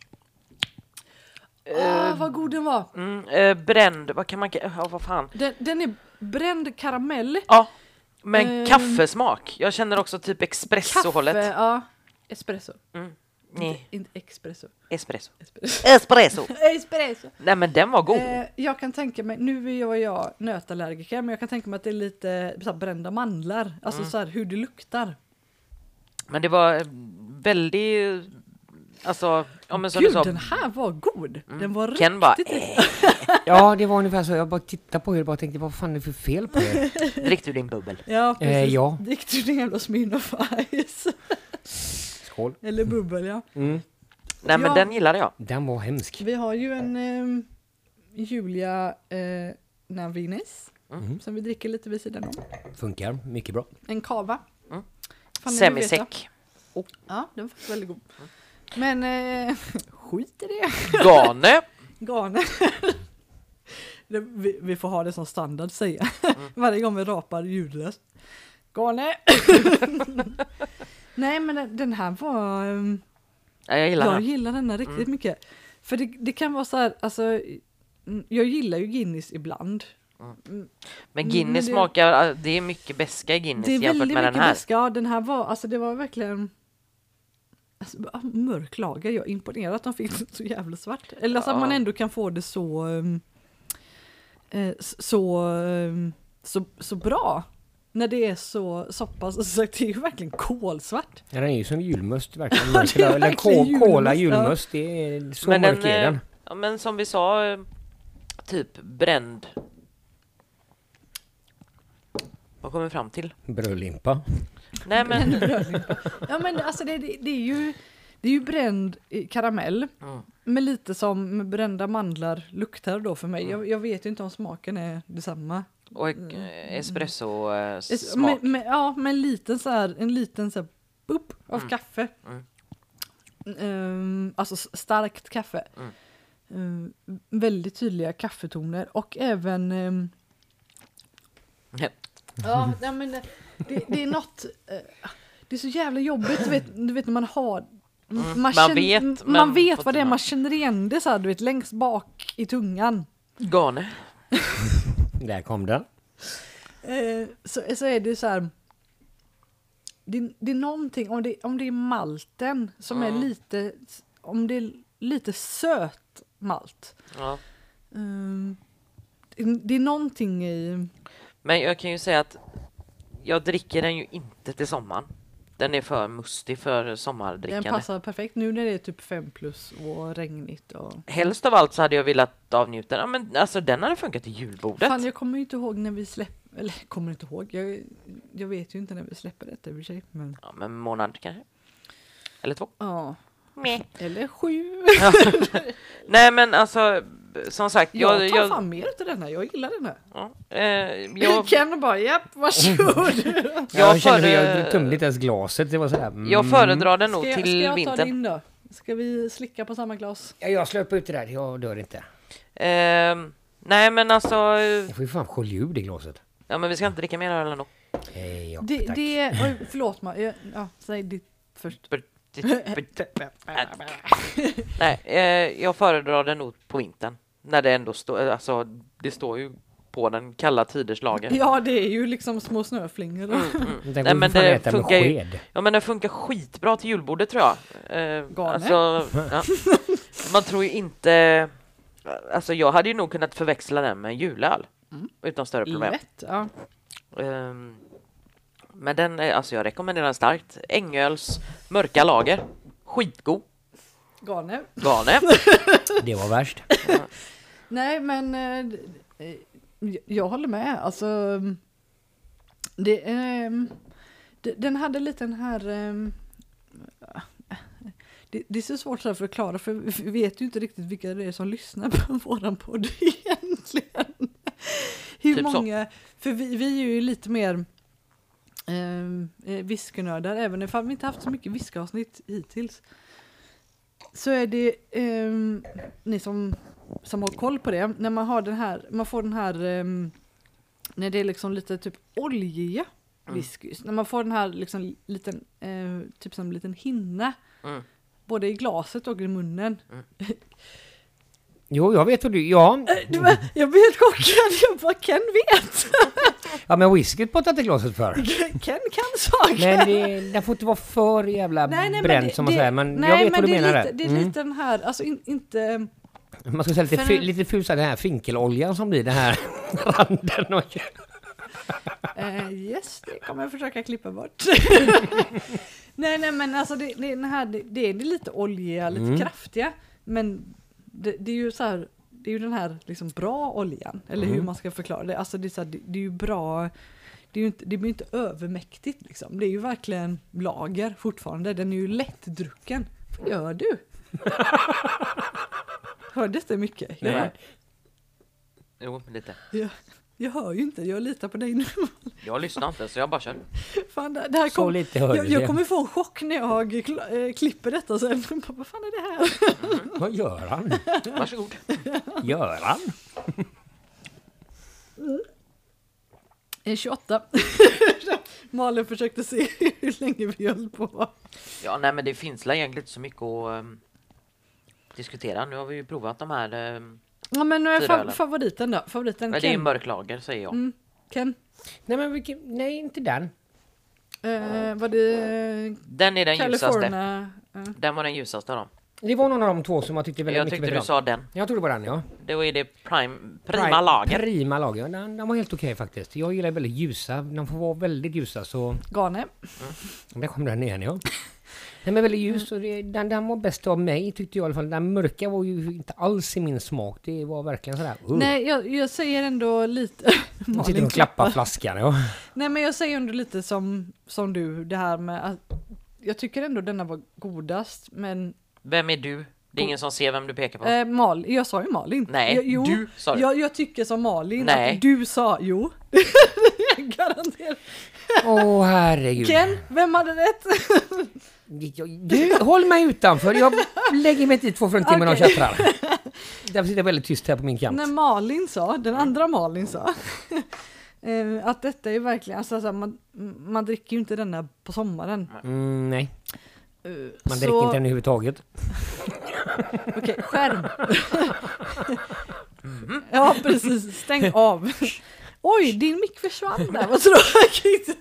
[SPEAKER 1] Ah, vad god den var!
[SPEAKER 2] Mm, eh, bränd, vad kan man, ja vad fan.
[SPEAKER 1] Den, den är bränd karamell,
[SPEAKER 2] Ja, men
[SPEAKER 1] Ehm.
[SPEAKER 2] kaffesmak. Jag känner också typ
[SPEAKER 1] kaffe,
[SPEAKER 2] espresso-hållet.
[SPEAKER 1] ja. Espresso.
[SPEAKER 2] Nej,
[SPEAKER 1] Inte espresso.
[SPEAKER 2] espresso.
[SPEAKER 1] Espresso.
[SPEAKER 2] Espresso!
[SPEAKER 1] espresso.
[SPEAKER 2] Nej men den var god.
[SPEAKER 1] Eh, jag kan tänka mig, nu är jag, och jag nötallergiker, men jag kan tänka mig att det är lite så här, brända mandlar. Alltså
[SPEAKER 2] Mm.
[SPEAKER 1] så här hur det luktar.
[SPEAKER 2] Men det var eh, väldigt, alltså, ja men som
[SPEAKER 1] Gud,
[SPEAKER 2] du sa.
[SPEAKER 1] den här var god! Den var
[SPEAKER 2] Mm. Ken bara,
[SPEAKER 1] riktigt...
[SPEAKER 2] eh,
[SPEAKER 3] Ja det var ungefär så. Jag bara tittade på er och bara tänkte vad fan är det för fel på er?
[SPEAKER 2] drick du din bubbel.
[SPEAKER 1] Ja, precis.
[SPEAKER 3] Eh, ja.
[SPEAKER 1] Drick du din jävla Smirnoff Ice.
[SPEAKER 3] Skål.
[SPEAKER 1] Eller bubbel, ja.
[SPEAKER 2] Nej men
[SPEAKER 1] Ja.
[SPEAKER 2] den gillade jag.
[SPEAKER 3] Den var hemsk.
[SPEAKER 1] Vi har ju en ehm, Julia eh, Navines
[SPEAKER 2] Mm.
[SPEAKER 3] Mm.
[SPEAKER 1] som vi dricker lite vid sidan om.
[SPEAKER 3] Funkar mycket bra.
[SPEAKER 1] En kava. Mm.
[SPEAKER 2] Semisäck. Oh.
[SPEAKER 1] Ja, den var faktiskt väldigt god.
[SPEAKER 2] Mm.
[SPEAKER 1] Men eh, skit i det.
[SPEAKER 2] Gane.
[SPEAKER 1] Garnen. Det- vi, vi får ha det som standard säga
[SPEAKER 2] Mm.
[SPEAKER 1] varje gång vi rapar ljudlöst. Garne! Nej men den- den här var... ehm,
[SPEAKER 2] Ja, jag gillar
[SPEAKER 1] jag
[SPEAKER 2] den. Mm.
[SPEAKER 1] gillar denna riktigt mycket. För det, det kan vara så här, alltså, mm, jag gillar ju Guinness ibland.
[SPEAKER 2] Men Guinness
[SPEAKER 1] det-
[SPEAKER 2] smakar, eh, det är mycket beska i Guinness
[SPEAKER 1] Det är
[SPEAKER 2] Mm, jämfört
[SPEAKER 1] väldigt
[SPEAKER 2] med
[SPEAKER 1] mycket
[SPEAKER 2] den här.
[SPEAKER 1] väska, ja, den här var, alltså det var verkligen alltså, bara mörk lager, jag är imponerad att de fick det så jävla svart. Eller alltså, att
[SPEAKER 2] Ja.
[SPEAKER 1] man ändå kan få det så ehm, eh, s- så, ehm, så, så bra. När det är så, så pass, alltså, så att det är ju verkligen kolsvart.
[SPEAKER 3] Ja, den är ju som julmust verkligen.
[SPEAKER 1] Ja, det är
[SPEAKER 3] Eller
[SPEAKER 1] verkligen
[SPEAKER 3] ko- kola
[SPEAKER 1] julmust, ja.
[SPEAKER 3] julmust. Det är så
[SPEAKER 2] Men,
[SPEAKER 3] mörk
[SPEAKER 2] den,
[SPEAKER 3] är
[SPEAKER 2] eh,
[SPEAKER 3] den.
[SPEAKER 2] ja, men som vi sa, eh, typ bränd. Vad kommer vi fram till?
[SPEAKER 3] Brödlimpa.
[SPEAKER 2] Nej men,
[SPEAKER 1] Ja men alltså det, det, det är ju det är ju bränd eh, karamell.
[SPEAKER 2] mm.
[SPEAKER 1] Men lite som med brända mandlar luktar då för
[SPEAKER 2] Mm.
[SPEAKER 1] mig. Jag, jag vet ju inte om smaken är detsamma.
[SPEAKER 2] och eh, espresso eh,
[SPEAKER 1] Es-
[SPEAKER 2] smak.
[SPEAKER 1] men, men, ja, men en liten så här, en liten så här, bupp av
[SPEAKER 2] Mm.
[SPEAKER 1] kaffe. Ehm, alltså s- starkt kaffe.
[SPEAKER 2] Mm.
[SPEAKER 1] Ehm, väldigt tydliga kaffetoner och även ehm, Ja, nej, men det, det är något... eh, Det är så jävla jobbigt, du vet, du vet när man har... Man, känner-
[SPEAKER 2] Mm. vet,
[SPEAKER 1] m-
[SPEAKER 2] men-
[SPEAKER 1] man vet vad det är, man känner igen det så här, du vet, längst bak i tungan.
[SPEAKER 2] Gane.
[SPEAKER 3] Där kom den.
[SPEAKER 1] Eh, så, så är det så här... Det, det är någonting, om det, om det är malten som är lite... Om det är lite söt malt.
[SPEAKER 2] Ja.
[SPEAKER 1] Ehm, Det är någonting i...
[SPEAKER 2] Men jag kan ju säga att jag dricker den ju inte till sommaren. Den är för mustig för sommardrickande.
[SPEAKER 1] Den passar perfekt nu när det är typ 5 plus och regnigt. Och...
[SPEAKER 2] Helst av allt så hade jag velat avnjuta den. Ja, men alltså den hade funkat till julbordet.
[SPEAKER 1] Fan, jag kommer ju inte ihåg när vi släpper... Eller kommer inte ihåg. Jag, jag vet ju inte när vi släpper detta i och för sig. Men...
[SPEAKER 2] Ja, men en månad kanske. Eller två.
[SPEAKER 1] Ja.
[SPEAKER 2] Meh.
[SPEAKER 1] Eller sju.
[SPEAKER 2] Nej men alltså som sagt.
[SPEAKER 1] Jag tar
[SPEAKER 2] jag,
[SPEAKER 1] fan mer till denna. Jag gillar den här.
[SPEAKER 2] ja, eh,
[SPEAKER 1] Jag...
[SPEAKER 2] jag,
[SPEAKER 1] Ken bara japp, varsågod.
[SPEAKER 2] jag,
[SPEAKER 3] Jag kände hur
[SPEAKER 2] före-
[SPEAKER 3] jag tömde inte ens glaset. Det var så här, mm.
[SPEAKER 2] jag föredrar den nog
[SPEAKER 1] Ska jag, ska
[SPEAKER 2] till
[SPEAKER 1] jag ta
[SPEAKER 2] vintern.
[SPEAKER 1] din då? Ska vi slicka på samma glas?
[SPEAKER 3] Ja, jag slöp ut det där. Jag dör inte.
[SPEAKER 2] Ehm, nej men alltså, eh,
[SPEAKER 3] Jag får ju fan sköljud i glaset.
[SPEAKER 2] ja men vi ska inte dricka mer öl ändå.
[SPEAKER 3] Hej, ja,
[SPEAKER 1] Det,
[SPEAKER 3] tack.
[SPEAKER 1] det, oj, förlåt ma. Jag, ja, säg ditt först.
[SPEAKER 2] Nej, eh, jag föredrar den nog på vintern. När det ändå står, alltså det står ju på den kalla tiders lager. Mm,
[SPEAKER 1] Ja, det är ju liksom små snöflingor.
[SPEAKER 3] Den går
[SPEAKER 2] Nej,
[SPEAKER 3] ju
[SPEAKER 2] men
[SPEAKER 3] för fan
[SPEAKER 2] det
[SPEAKER 3] äta med
[SPEAKER 2] funkar ju.
[SPEAKER 3] sked.
[SPEAKER 2] Ja men den funkar skitbra till julbordet tror jag. Eh,
[SPEAKER 1] Galen.
[SPEAKER 2] alltså, ja. Man tror ju inte... Alltså jag hade ju nog kunnat förväxla den med en julöl.
[SPEAKER 3] Mm.
[SPEAKER 2] Utan större problem.
[SPEAKER 1] Lätt. Ja.
[SPEAKER 2] Ehm, men den, är- alltså jag rekommenderar den starkt. Ängöls mörka lager. Skitgod.
[SPEAKER 1] Garne.
[SPEAKER 2] Gane.
[SPEAKER 3] Det var värst.
[SPEAKER 1] Nej, men eh, eh, jag- jag håller med. Alltså, mm, det, ehm, d- den hade lite den här... ehm, Det, det är så svårt så här att förklara, för vi vet ju inte riktigt vilka det är som lyssnar på våran podd egentligen. Hur
[SPEAKER 2] Typ så.
[SPEAKER 1] många, för vi, vi är ju lite mer ehm, eh, viskenördar, även om vi inte haft så mycket viskavsnitt hittills. Så är det ehm, ni som som har koll på det, när man har den här, man får den här, ehm, när det är liksom lite typ oljiga whiskys, när man får den här liksom liten, eh, typ som en liten hinna,
[SPEAKER 2] Mm.
[SPEAKER 1] både i glaset och i munnen.
[SPEAKER 3] Jo, jag vet hur du... Ja,
[SPEAKER 1] Du, men, jag blir helt chockad, jag bara Ken vet!
[SPEAKER 3] ja men whisky pottar i glaset för.
[SPEAKER 1] Ken kan saker!
[SPEAKER 3] Men det, den får inte vara för jävla bränd
[SPEAKER 1] det-
[SPEAKER 3] som man
[SPEAKER 1] det-
[SPEAKER 3] säger. Men
[SPEAKER 1] nej,
[SPEAKER 3] jag vet vad du
[SPEAKER 1] det är
[SPEAKER 3] menar
[SPEAKER 1] lite,
[SPEAKER 3] där.
[SPEAKER 1] Det är
[SPEAKER 3] Mm.
[SPEAKER 1] lite den här, alltså in, inte,
[SPEAKER 3] Man ska säga lite,
[SPEAKER 1] för
[SPEAKER 3] fu-
[SPEAKER 1] en-
[SPEAKER 3] lite fusa den här finkeloljan som blir den här randen. Och,
[SPEAKER 1] Eh, yes, det kommer jag försöka klippa bort. nej, nej, men alltså det, det, är den här, det, det är lite oljiga, lite
[SPEAKER 3] Mm.
[SPEAKER 1] kraftiga, men det, det är ju så här, det är ju den här liksom bra oljan, eller hur man ska förklara det. Alltså det är, så här, det, det är ju bra, det är ju inte, det blir ju inte övermäktigt liksom. Det är ju verkligen lager fortfarande, den är ju lättdrucken. Vad gör du? Hördes det mycket?
[SPEAKER 2] Nej. Jo, lite.
[SPEAKER 1] Jag, jag, jag hör ju inte, jag litar på dig nu.
[SPEAKER 2] Jag lyssnar inte så jag bara kör.
[SPEAKER 1] Fan, det det här
[SPEAKER 3] Så
[SPEAKER 1] kom,
[SPEAKER 3] lite hörde
[SPEAKER 1] jag, jag
[SPEAKER 3] det.
[SPEAKER 1] kommer få en chock när jag kl- eh, klipper detta sen. Jag bara, Vad fan är det här?
[SPEAKER 3] vad gör han?
[SPEAKER 2] Varsågod.
[SPEAKER 3] Gör han?
[SPEAKER 1] Eh, 28. Malin försökte se hur länge vi höll på.
[SPEAKER 2] Ja, nej men det finns väl egentligen inte så mycket att ehm, diskutera. Nu har vi ju provat de här. ehm,
[SPEAKER 1] Ja, men eh,
[SPEAKER 2] Fyra
[SPEAKER 1] fa-
[SPEAKER 2] ölen.
[SPEAKER 1] favoriten då? Favoriten
[SPEAKER 2] men det är ju
[SPEAKER 1] Ken.
[SPEAKER 2] mörklager säger jag.
[SPEAKER 1] Mm, Ken.
[SPEAKER 3] Nej, men vilken, nej inte den.
[SPEAKER 1] Eh, var det
[SPEAKER 2] Den är den ljusaste.
[SPEAKER 1] California? Eh,
[SPEAKER 2] Den var den ljusaste av dem.
[SPEAKER 3] Det var någon av de två som jag tyckte väldigt
[SPEAKER 2] Jag
[SPEAKER 3] mycket
[SPEAKER 2] tyckte
[SPEAKER 3] bättre
[SPEAKER 2] du
[SPEAKER 3] om.
[SPEAKER 2] sa den.
[SPEAKER 3] Jag tror det var den ja.
[SPEAKER 2] Då är det prime, prima
[SPEAKER 3] Pri-
[SPEAKER 2] lager.
[SPEAKER 3] Prima lager. Den, den var helt okej faktiskt. Jag gillar väldigt ljusa. De får vara väldigt ljusa så...
[SPEAKER 1] Gane.
[SPEAKER 3] Där kom den igen ja. Den är väldigt ljus och det, den, den var bäst av mig tyckte jag i alla fall. Den mörka var ju inte alls i min smak. Det var verkligen sådär... Uh.
[SPEAKER 1] Nej, jag, jag säger ändå lite...
[SPEAKER 3] Malin sitter och klappar flaskan ja.
[SPEAKER 1] Nej men jag säger ändå lite som, som du, det här med att jag tycker ändå denna var godast, men
[SPEAKER 2] Vem är du? Det är ingen som ser vem du pekar på.
[SPEAKER 1] Eh, Mal, jag sa ju Malin.
[SPEAKER 2] Nej,
[SPEAKER 1] jag, jo,
[SPEAKER 2] du sa det.
[SPEAKER 1] Jag, jag tycker som Malin.
[SPEAKER 2] Nej.
[SPEAKER 1] Att du sa jo. Garanterat.
[SPEAKER 3] Åh herregud.
[SPEAKER 1] Ken, vem hade rätt?
[SPEAKER 3] Jag- Du, håll mig utanför. Jag lägger mig inte två för en timme och
[SPEAKER 1] Okej.
[SPEAKER 3] tjattrar. Därför sitter jag väldigt tyst här på min kant.
[SPEAKER 1] När Malin sa, den andra Malin sa, eh, att detta är verkligen, alltså, så här, man, man dricker ju inte denna på sommaren.
[SPEAKER 3] Mm, nej,
[SPEAKER 1] Eh, så-
[SPEAKER 3] man dricker inte den överhuvudtaget.
[SPEAKER 1] Okej, skärm.
[SPEAKER 2] Mm.
[SPEAKER 1] Ja, precis. Stäng av. Oj, din mick försvann där. Vad tråkigt.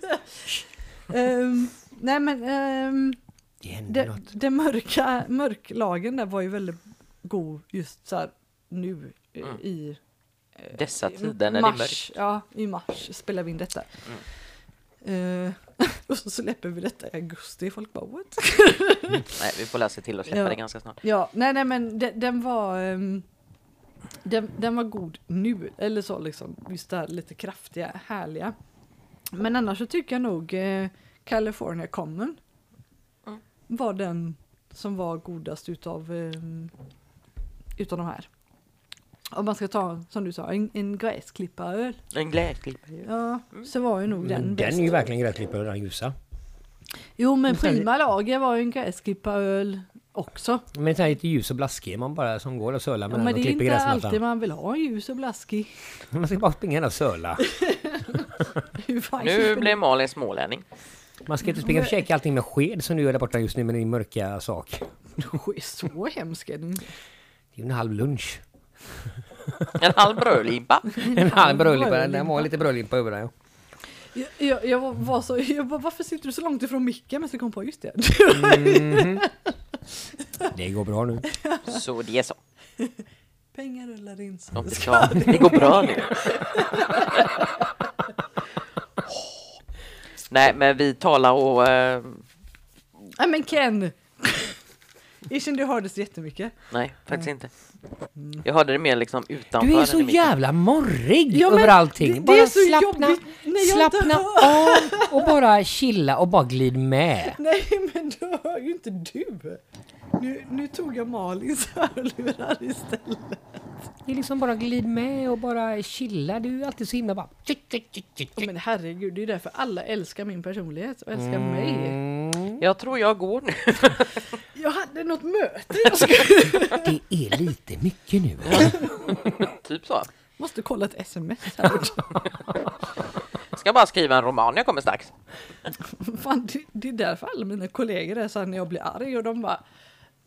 [SPEAKER 1] Ehm, nej, men ehm,
[SPEAKER 3] Det händer
[SPEAKER 1] det,
[SPEAKER 3] något.
[SPEAKER 1] det mörka mörklagen där var ju väldigt god just så här nu eh,
[SPEAKER 2] Mm.
[SPEAKER 1] i
[SPEAKER 2] Dessa tider när det är mörkt.
[SPEAKER 1] mars, ja, i mars spelar vi in detta. Eh, och så släpper vi detta i augusti, folk bara what?
[SPEAKER 2] Nej, vi får läsa till och släppa
[SPEAKER 1] Ja.
[SPEAKER 2] det ganska snart.
[SPEAKER 1] Ja, nej nej men den, den var ehm, den, den var god nu, eller så liksom, just det här lite kraftiga, härliga. Men annars så tycker jag nog eh, California Common
[SPEAKER 2] Mm.
[SPEAKER 1] var den som var godast utav, ehm, utav de här. Om man ska ta, som du sa, en, en gräsklipparöl.
[SPEAKER 2] En glädjeklippa ju.
[SPEAKER 1] Ja, så var ju nog den
[SPEAKER 3] Mm, Den,
[SPEAKER 1] bäst.
[SPEAKER 3] den är ju verkligen gräsklippad och den ljusa.
[SPEAKER 1] Jo men
[SPEAKER 3] sen-
[SPEAKER 1] Prima Lager var ju en gräsklipparöl också.
[SPEAKER 3] Men den är lite ljus och blaskig. Man bara som går och sölar
[SPEAKER 1] Ja,
[SPEAKER 3] med
[SPEAKER 1] men
[SPEAKER 3] den
[SPEAKER 1] det
[SPEAKER 3] och
[SPEAKER 1] är
[SPEAKER 3] klipper
[SPEAKER 1] inte alltid
[SPEAKER 3] gräsmattan.
[SPEAKER 1] man vill ha ljus och blaskig.
[SPEAKER 3] Man ska bara springa där och söla.
[SPEAKER 1] Hur fan
[SPEAKER 2] Nu blev Malin smålänning.
[SPEAKER 3] Man ska inte springa och käka allting med sked som du gör där borta just nu med din mörka sak. Det
[SPEAKER 1] det så hemskt är den inte.
[SPEAKER 3] är ju en halv lunch.
[SPEAKER 2] En halv brödlimpa.
[SPEAKER 3] En halv brödlimpa.
[SPEAKER 1] brödlimpa.
[SPEAKER 3] Den var lite brödlimpa över den. ja.
[SPEAKER 1] jag, jag, jag var- var så, jag bara, varför sitter du så långt ifrån micken? Men så kom jag på, just det.
[SPEAKER 3] Det går bra nu.
[SPEAKER 2] Så det är så.
[SPEAKER 1] Pengar rullar in.
[SPEAKER 2] De ska. Det går bra nu. Nej, men vi talar och... eh,
[SPEAKER 1] Nej men Ken! Ishin, du hördes jättemycket.
[SPEAKER 2] nej, faktiskt inte. Jag hörde det mer liksom utanför.
[SPEAKER 3] Du är
[SPEAKER 2] än i
[SPEAKER 3] så
[SPEAKER 2] mitten.
[SPEAKER 3] jävla morrig
[SPEAKER 1] Ja, men
[SPEAKER 3] över allting.
[SPEAKER 1] det- det
[SPEAKER 3] bara
[SPEAKER 1] är så
[SPEAKER 3] slappna,
[SPEAKER 1] jobbigt när jag inte
[SPEAKER 3] slappna av och bara chilla och bara glid med.
[SPEAKER 1] Nej men då hör ju inte du! Nu, nu tog jag Malins hörlurar istället.
[SPEAKER 3] Det är liksom bara glid med och bara chilla. Du är alltid så himla bara...
[SPEAKER 1] Ja, men herregud, det är ju därför alla älskar min personlighet och älskar
[SPEAKER 3] Mm.
[SPEAKER 1] mig.
[SPEAKER 2] Jag tror jag går nu.
[SPEAKER 1] Jag hade något möte jag skulle-
[SPEAKER 3] Det är lite mycket nu.
[SPEAKER 2] typ så.
[SPEAKER 1] Måste kolla ett sms här borta.
[SPEAKER 2] Ska bara skriva en roman, jag kommer strax.
[SPEAKER 1] Fan, det, det är därför alla mina kollegor är såhär när jag blir arg och de bara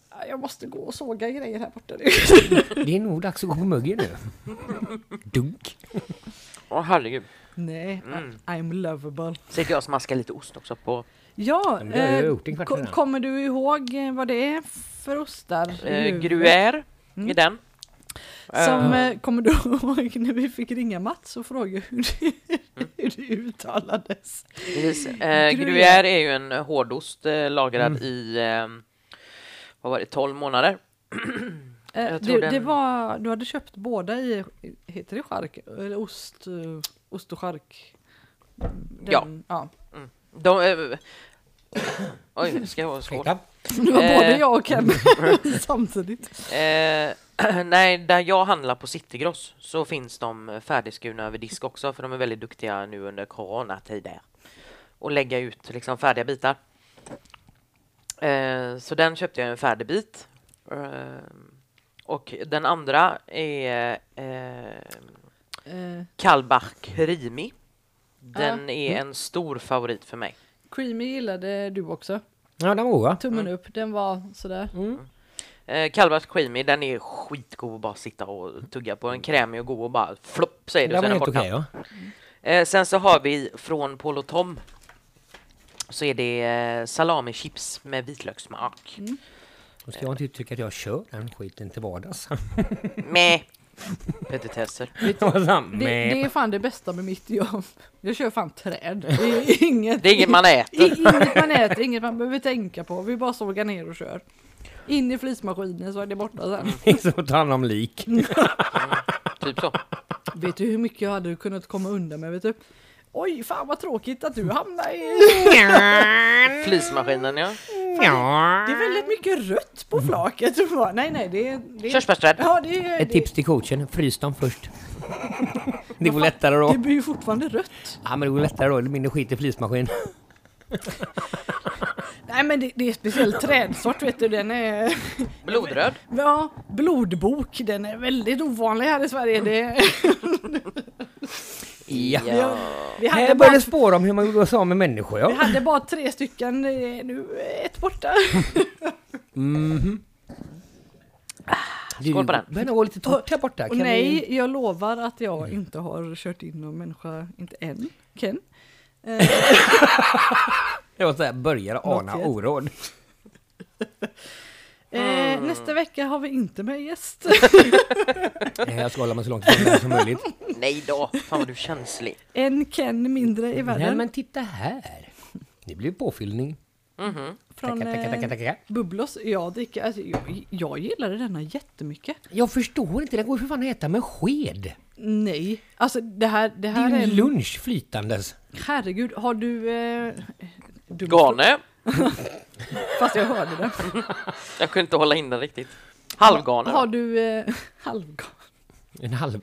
[SPEAKER 1] "Ah, jag måste gå och såga grejer här borta nu.
[SPEAKER 3] Det är nog dags att gå på muggen nu. Dunk.
[SPEAKER 2] Åh herregud.
[SPEAKER 1] Nej,
[SPEAKER 3] Mm.
[SPEAKER 1] I, I'm lovable.
[SPEAKER 2] Sitter jag och smaskar lite ost också på
[SPEAKER 1] Ja,
[SPEAKER 3] men det har jag
[SPEAKER 1] eh,
[SPEAKER 3] gjort en kvart
[SPEAKER 1] ko-
[SPEAKER 3] redan.
[SPEAKER 1] kommer du ihåg eh, vad det är för ostar? i
[SPEAKER 2] eh,
[SPEAKER 1] huvudet?
[SPEAKER 2] gruyère
[SPEAKER 3] Mm.
[SPEAKER 2] i den.
[SPEAKER 1] Som, eh, kommer du ihåg när vi fick ringa Mats och fråga hur det,
[SPEAKER 3] Mm.
[SPEAKER 1] hur det uttalades?
[SPEAKER 2] Precis. Eh,
[SPEAKER 1] Gruyère.
[SPEAKER 2] Gruyère är ju en hårdost eh, lagrad
[SPEAKER 3] Mm.
[SPEAKER 2] i ehm, vad var det, 12 månader.
[SPEAKER 1] Eh,
[SPEAKER 2] Jag
[SPEAKER 1] det,
[SPEAKER 2] tror
[SPEAKER 1] det
[SPEAKER 2] den-
[SPEAKER 1] var, du hade köpt båda i, heter det chark? Eller ost, eh, ost och chark? Den- ja.
[SPEAKER 2] De, eh, oj, ska jag ha en skål?
[SPEAKER 3] Ursäkta.
[SPEAKER 1] Det var
[SPEAKER 2] Eh.
[SPEAKER 1] både jag och Ken samtidigt.
[SPEAKER 2] Eh, nej, där jag handlar på Citygross så finns de färdigskurna över disk också för de är väldigt duktiga nu under coronatider. Och lägga ut liksom färdiga bitar. Eh, så den köpte jag en färdig bit. Eh, och den andra är eh,
[SPEAKER 1] Eh,
[SPEAKER 2] Kalbach Krimi. Den är en stor favorit för mig.
[SPEAKER 1] creamy gillade du också.
[SPEAKER 3] Ja, den var god va?
[SPEAKER 1] Tummen upp, den var sådär.
[SPEAKER 2] Eh, Kalbach Krimi, den är skitgod att bara sitta och tugga på. Den krämig och god och bara flopp säger
[SPEAKER 3] Den
[SPEAKER 2] du. så
[SPEAKER 3] var
[SPEAKER 2] är den
[SPEAKER 3] helt
[SPEAKER 2] borta.
[SPEAKER 3] okej ja.
[SPEAKER 2] eh, sen så har vi från Paul och Tom. Så är det eh, salamichips med vitlökssmak.
[SPEAKER 3] Mm. Då ska jag inte uttrycka att jag kör den skiten till vardags.
[SPEAKER 2] Med petitesser.
[SPEAKER 3] Det var sant.
[SPEAKER 1] Det, det är fan det bästa med mitt jobb. Jag kör fan träd. Det är inget,
[SPEAKER 2] Det är inget man äter.
[SPEAKER 1] i- inget man äter, inget man behöver tänka på. Vi bara sågar ner och kör. In i flismaskinen så är det borta sen.
[SPEAKER 3] Det är som att ta hand om lik.
[SPEAKER 2] Typ så.
[SPEAKER 1] Vet du hur mycket jag hade kunnat komma undan med? Vet du? Oj, fan vad tråkigt att du hamnar i...
[SPEAKER 2] Flismaskinen ja.
[SPEAKER 1] Det är väldigt mycket rött på flaket. Och bara, Nej, nej, det är... Det är
[SPEAKER 2] Körsbärsträd.
[SPEAKER 1] ja, det är...
[SPEAKER 3] Ett
[SPEAKER 1] Det,
[SPEAKER 3] tips till coachen, frys dem först. Det går lättare då.
[SPEAKER 1] det blir ju fortfarande rött.
[SPEAKER 3] Ja men det går lättare då, det är mindre skit i flismaskin.
[SPEAKER 1] Nej, men det, det är speciell trädsort, vet du. Den är...
[SPEAKER 2] Blodröd.
[SPEAKER 1] Ja, blodbok. Den är väldigt ovanlig här i Sverige. Det,
[SPEAKER 3] Ja.
[SPEAKER 2] Ja.
[SPEAKER 1] vi, hade bara,
[SPEAKER 3] Här började spåra om hur man går sig av med människor
[SPEAKER 1] vi
[SPEAKER 3] ja.
[SPEAKER 1] hade bara tre stycken. eh, Nu är ett borta.
[SPEAKER 2] Skål på den.
[SPEAKER 3] Mhm. Du börjar gå lite torrt här borta.
[SPEAKER 1] Och
[SPEAKER 3] Kan vi...
[SPEAKER 1] nej, jag lovar att jag
[SPEAKER 3] Mm.
[SPEAKER 1] inte har kört in någon människa, inte än, Ken. Eh,
[SPEAKER 3] Jag var så här, börjar ana
[SPEAKER 1] Något
[SPEAKER 3] oråd.
[SPEAKER 1] Eh, nästa vecka har vi inte med gäst.
[SPEAKER 3] Eh, Jag ska hålla mig så långt ifrån det här som möjligt.
[SPEAKER 2] Nej då, fan vad du är känslig.
[SPEAKER 1] en Ken mindre i världen.
[SPEAKER 3] Nej men titta här! Det blir påfyllning.
[SPEAKER 1] Från
[SPEAKER 3] Tacka, tacka,
[SPEAKER 1] eh,
[SPEAKER 3] tacka, tacka.
[SPEAKER 1] Bubblor. Ja, dricker, alltså, jag, jag gillade denna jättemycket.
[SPEAKER 3] Jag förstår inte, det går ju för fan att äta med sked!
[SPEAKER 1] Nej, alltså det här, det
[SPEAKER 3] Det
[SPEAKER 1] här
[SPEAKER 3] är
[SPEAKER 1] är...
[SPEAKER 3] ju lunch flytandes!
[SPEAKER 1] Herregud, har du... Eh, dum-
[SPEAKER 2] Gane.
[SPEAKER 1] Fast jag hörde det.
[SPEAKER 2] Jag kunde inte hålla in den riktigt. Halvgane.
[SPEAKER 1] Har du... Eh, halvgång?
[SPEAKER 3] En halv...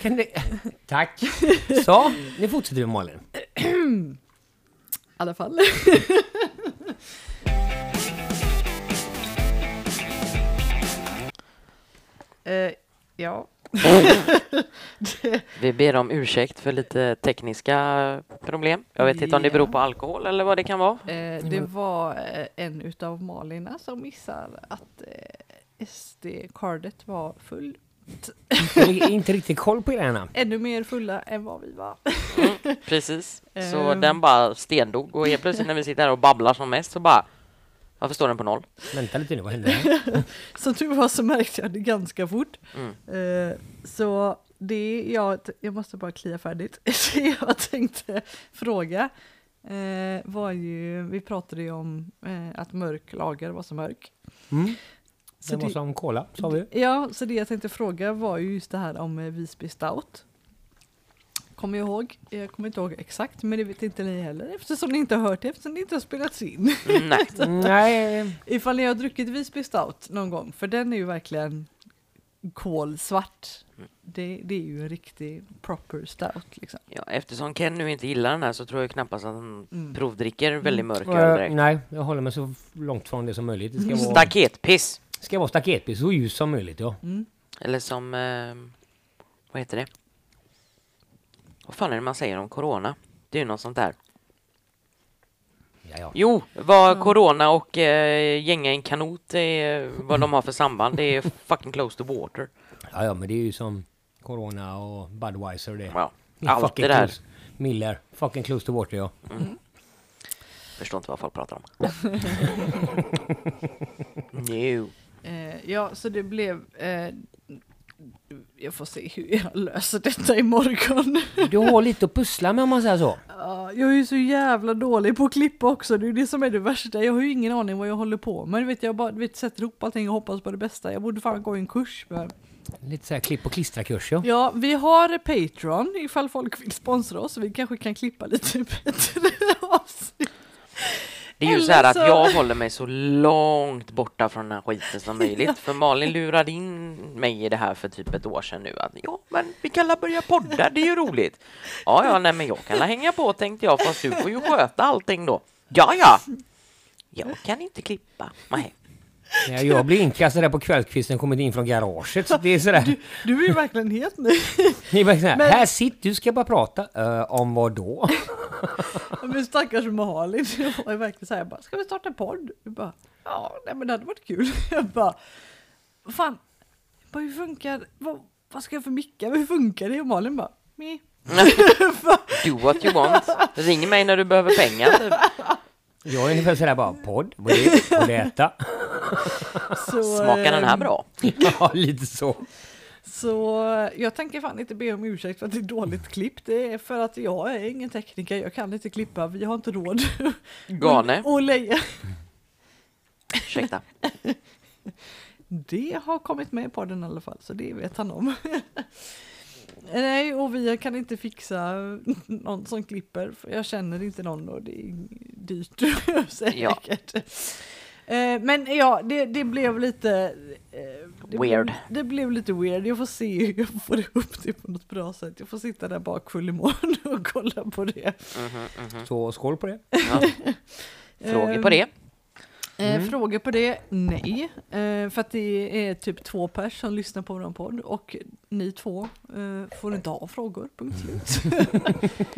[SPEAKER 3] Kan det... Tack! Så, nu fortsätter vi Malin.
[SPEAKER 1] I alla fall. eh, ja.
[SPEAKER 2] Vi ber om ursäkt för lite tekniska problem. Jag vet inte om det beror på alkohol eller vad det kan vara.
[SPEAKER 1] Eh, det var eh, en utav Malina som missar att eh, SD-cardet var full.
[SPEAKER 3] Inte, inte riktigt koll på grejerna.
[SPEAKER 1] Ännu mer fulla än vad vi var.
[SPEAKER 2] Precis. Så
[SPEAKER 1] Ehm.
[SPEAKER 2] den bara stendog och helt plötsligt när vi sitter här och babblar som mest så bara varför står den på noll?
[SPEAKER 3] Vänta lite nu, vad hände här?
[SPEAKER 1] Som tur var så märkte jag det ganska fort.
[SPEAKER 2] Mm.
[SPEAKER 1] Eh, så det jag, jag måste bara klia färdigt. Det jag tänkte fråga eh, var ju, vi pratade ju om eh, att mörk lager var så mörk.
[SPEAKER 3] Mm.
[SPEAKER 1] Så
[SPEAKER 3] Det var
[SPEAKER 1] det-
[SPEAKER 3] som cola, sa vi.
[SPEAKER 1] Ja, så det jag tänkte fråga var ju just det här om eh, Visby Stout. Kommer jag ihåg, jag kommer inte ihåg exakt, men det vet inte ni heller eftersom ni inte har hört det, eftersom det inte har spelats in.
[SPEAKER 2] Nej.
[SPEAKER 3] Nej,
[SPEAKER 1] Ifall ni har druckit Visby Stout någon gång, för den är ju verkligen kolsvart. Det, det är ju en riktig proper stout liksom.
[SPEAKER 2] Ja, eftersom Ken nu inte gillar den här så tror jag knappast att han
[SPEAKER 1] Mm.
[SPEAKER 2] provdricker väldigt mörk öl
[SPEAKER 3] eh,
[SPEAKER 2] direkt.
[SPEAKER 3] nej, jag Mm. håller mig så långt från det som möjligt. Det
[SPEAKER 2] Mm.
[SPEAKER 3] ska vara,
[SPEAKER 2] Staketpiss!
[SPEAKER 3] ska vara staketpis, så ljus som möjligt ja.
[SPEAKER 2] Eller som... Eh, vad heter det? Vad fan är det man säger om corona? Det är ju något sånt där.
[SPEAKER 3] ja, ja.
[SPEAKER 2] Jo, vad corona och eh, gänga i en kanot, är, vad de har för samband, det är fucking close to water.
[SPEAKER 3] Ja, ja, men det är ju som Corona och Budweiser det.
[SPEAKER 2] Ja,
[SPEAKER 3] Det är
[SPEAKER 2] allt
[SPEAKER 3] fucking
[SPEAKER 2] det där.
[SPEAKER 3] close. Miller, fucking close to water ja.
[SPEAKER 2] Förstår inte vad folk pratar om. no.
[SPEAKER 1] Eh, ja, så det blev... Eh, jag får se hur jag löser detta imorgon.
[SPEAKER 3] Du har lite att pussla med om man säger så.
[SPEAKER 1] Ja, jag är ju så jävla dålig på att klippa också, det är ju det som är det värsta. Jag har ju ingen aning vad jag håller på med. Du vet, jag bara du vet, sätter ihop allting och hoppas på det bästa. Jag borde fan gå en kurs. Men...
[SPEAKER 3] Lite så här klipp och klistra-kurs ja.
[SPEAKER 1] Ja, vi har Patreon ifall folk vill sponsra oss. Vi kanske kan klippa lite bättre avsnitt.
[SPEAKER 2] Det är ju
[SPEAKER 1] Eller
[SPEAKER 2] så här att
[SPEAKER 1] så-
[SPEAKER 2] jag håller mig så långt borta från den här skiten som möjligt. För Malin lurade in mig i det här för typ ett år sedan nu. Att ja, men vi kan la börja podda, det är ju roligt. Ja, ja, nej, men jag kan la hänga på tänkte jag, fast du får ju sköta allting då. Ja, ja. Jag kan inte klippa. Nej.
[SPEAKER 3] Ja, jag blir inkastad där på kvällskvisten kommit in från garaget. Så det är sådär.
[SPEAKER 1] Du är ju verkligen helt ny.
[SPEAKER 3] Det är bara sådär,
[SPEAKER 1] Men-
[SPEAKER 3] Här sitt du ska bara prata. "Eh, om vad då?
[SPEAKER 1] Men stackars Malin, jag var ju verkligen så här, jag bara, ska vi starta en podd? Jag bara, ja, nej men det hade varit kul. Jag bara, "Vad fan, jag bara, hur funkar, vad, vad ska jag för mickar, hur funkar det? Och Malin bara, Meh.
[SPEAKER 2] Do what you want. Ring mig när du behöver pengar. typ.
[SPEAKER 3] Jag är ungefär sådär bara podd. Vad är det? Vad är det att äta?
[SPEAKER 1] Så,
[SPEAKER 2] Smakar den här
[SPEAKER 1] eh,
[SPEAKER 2] bra?
[SPEAKER 3] Ja lite så.
[SPEAKER 1] Så jag tänker fan inte be om ursäkt för att det är dåligt klipp. Det är för att jag är ingen tekniker, jag kan inte klippa, vi har inte råd.
[SPEAKER 2] Gane.
[SPEAKER 1] Och leja.
[SPEAKER 2] Ursäkta.
[SPEAKER 1] Det har kommit med i podden i alla fall, så det vet han om. Nej, och vi kan inte fixa någon som klipper, för jag känner inte någon och det är dyrt säkert. Eh, Men ja, det, det blev lite... eh, Det
[SPEAKER 2] Weird.
[SPEAKER 1] Blev, det blev lite weird. Jag får se hur jag får ihop det på något bra sätt. Jag får sitta där bakfull imorgon och kolla på det.
[SPEAKER 2] Mhm, mhm.
[SPEAKER 3] Så skål på det.
[SPEAKER 1] Ehm,
[SPEAKER 2] Frågor på det?
[SPEAKER 1] Eh, Frågor på det? Nej. Eh, för att det är typ två pers som lyssnar på vår podd och ni två eh, får inte ha frågor. Punkt slut.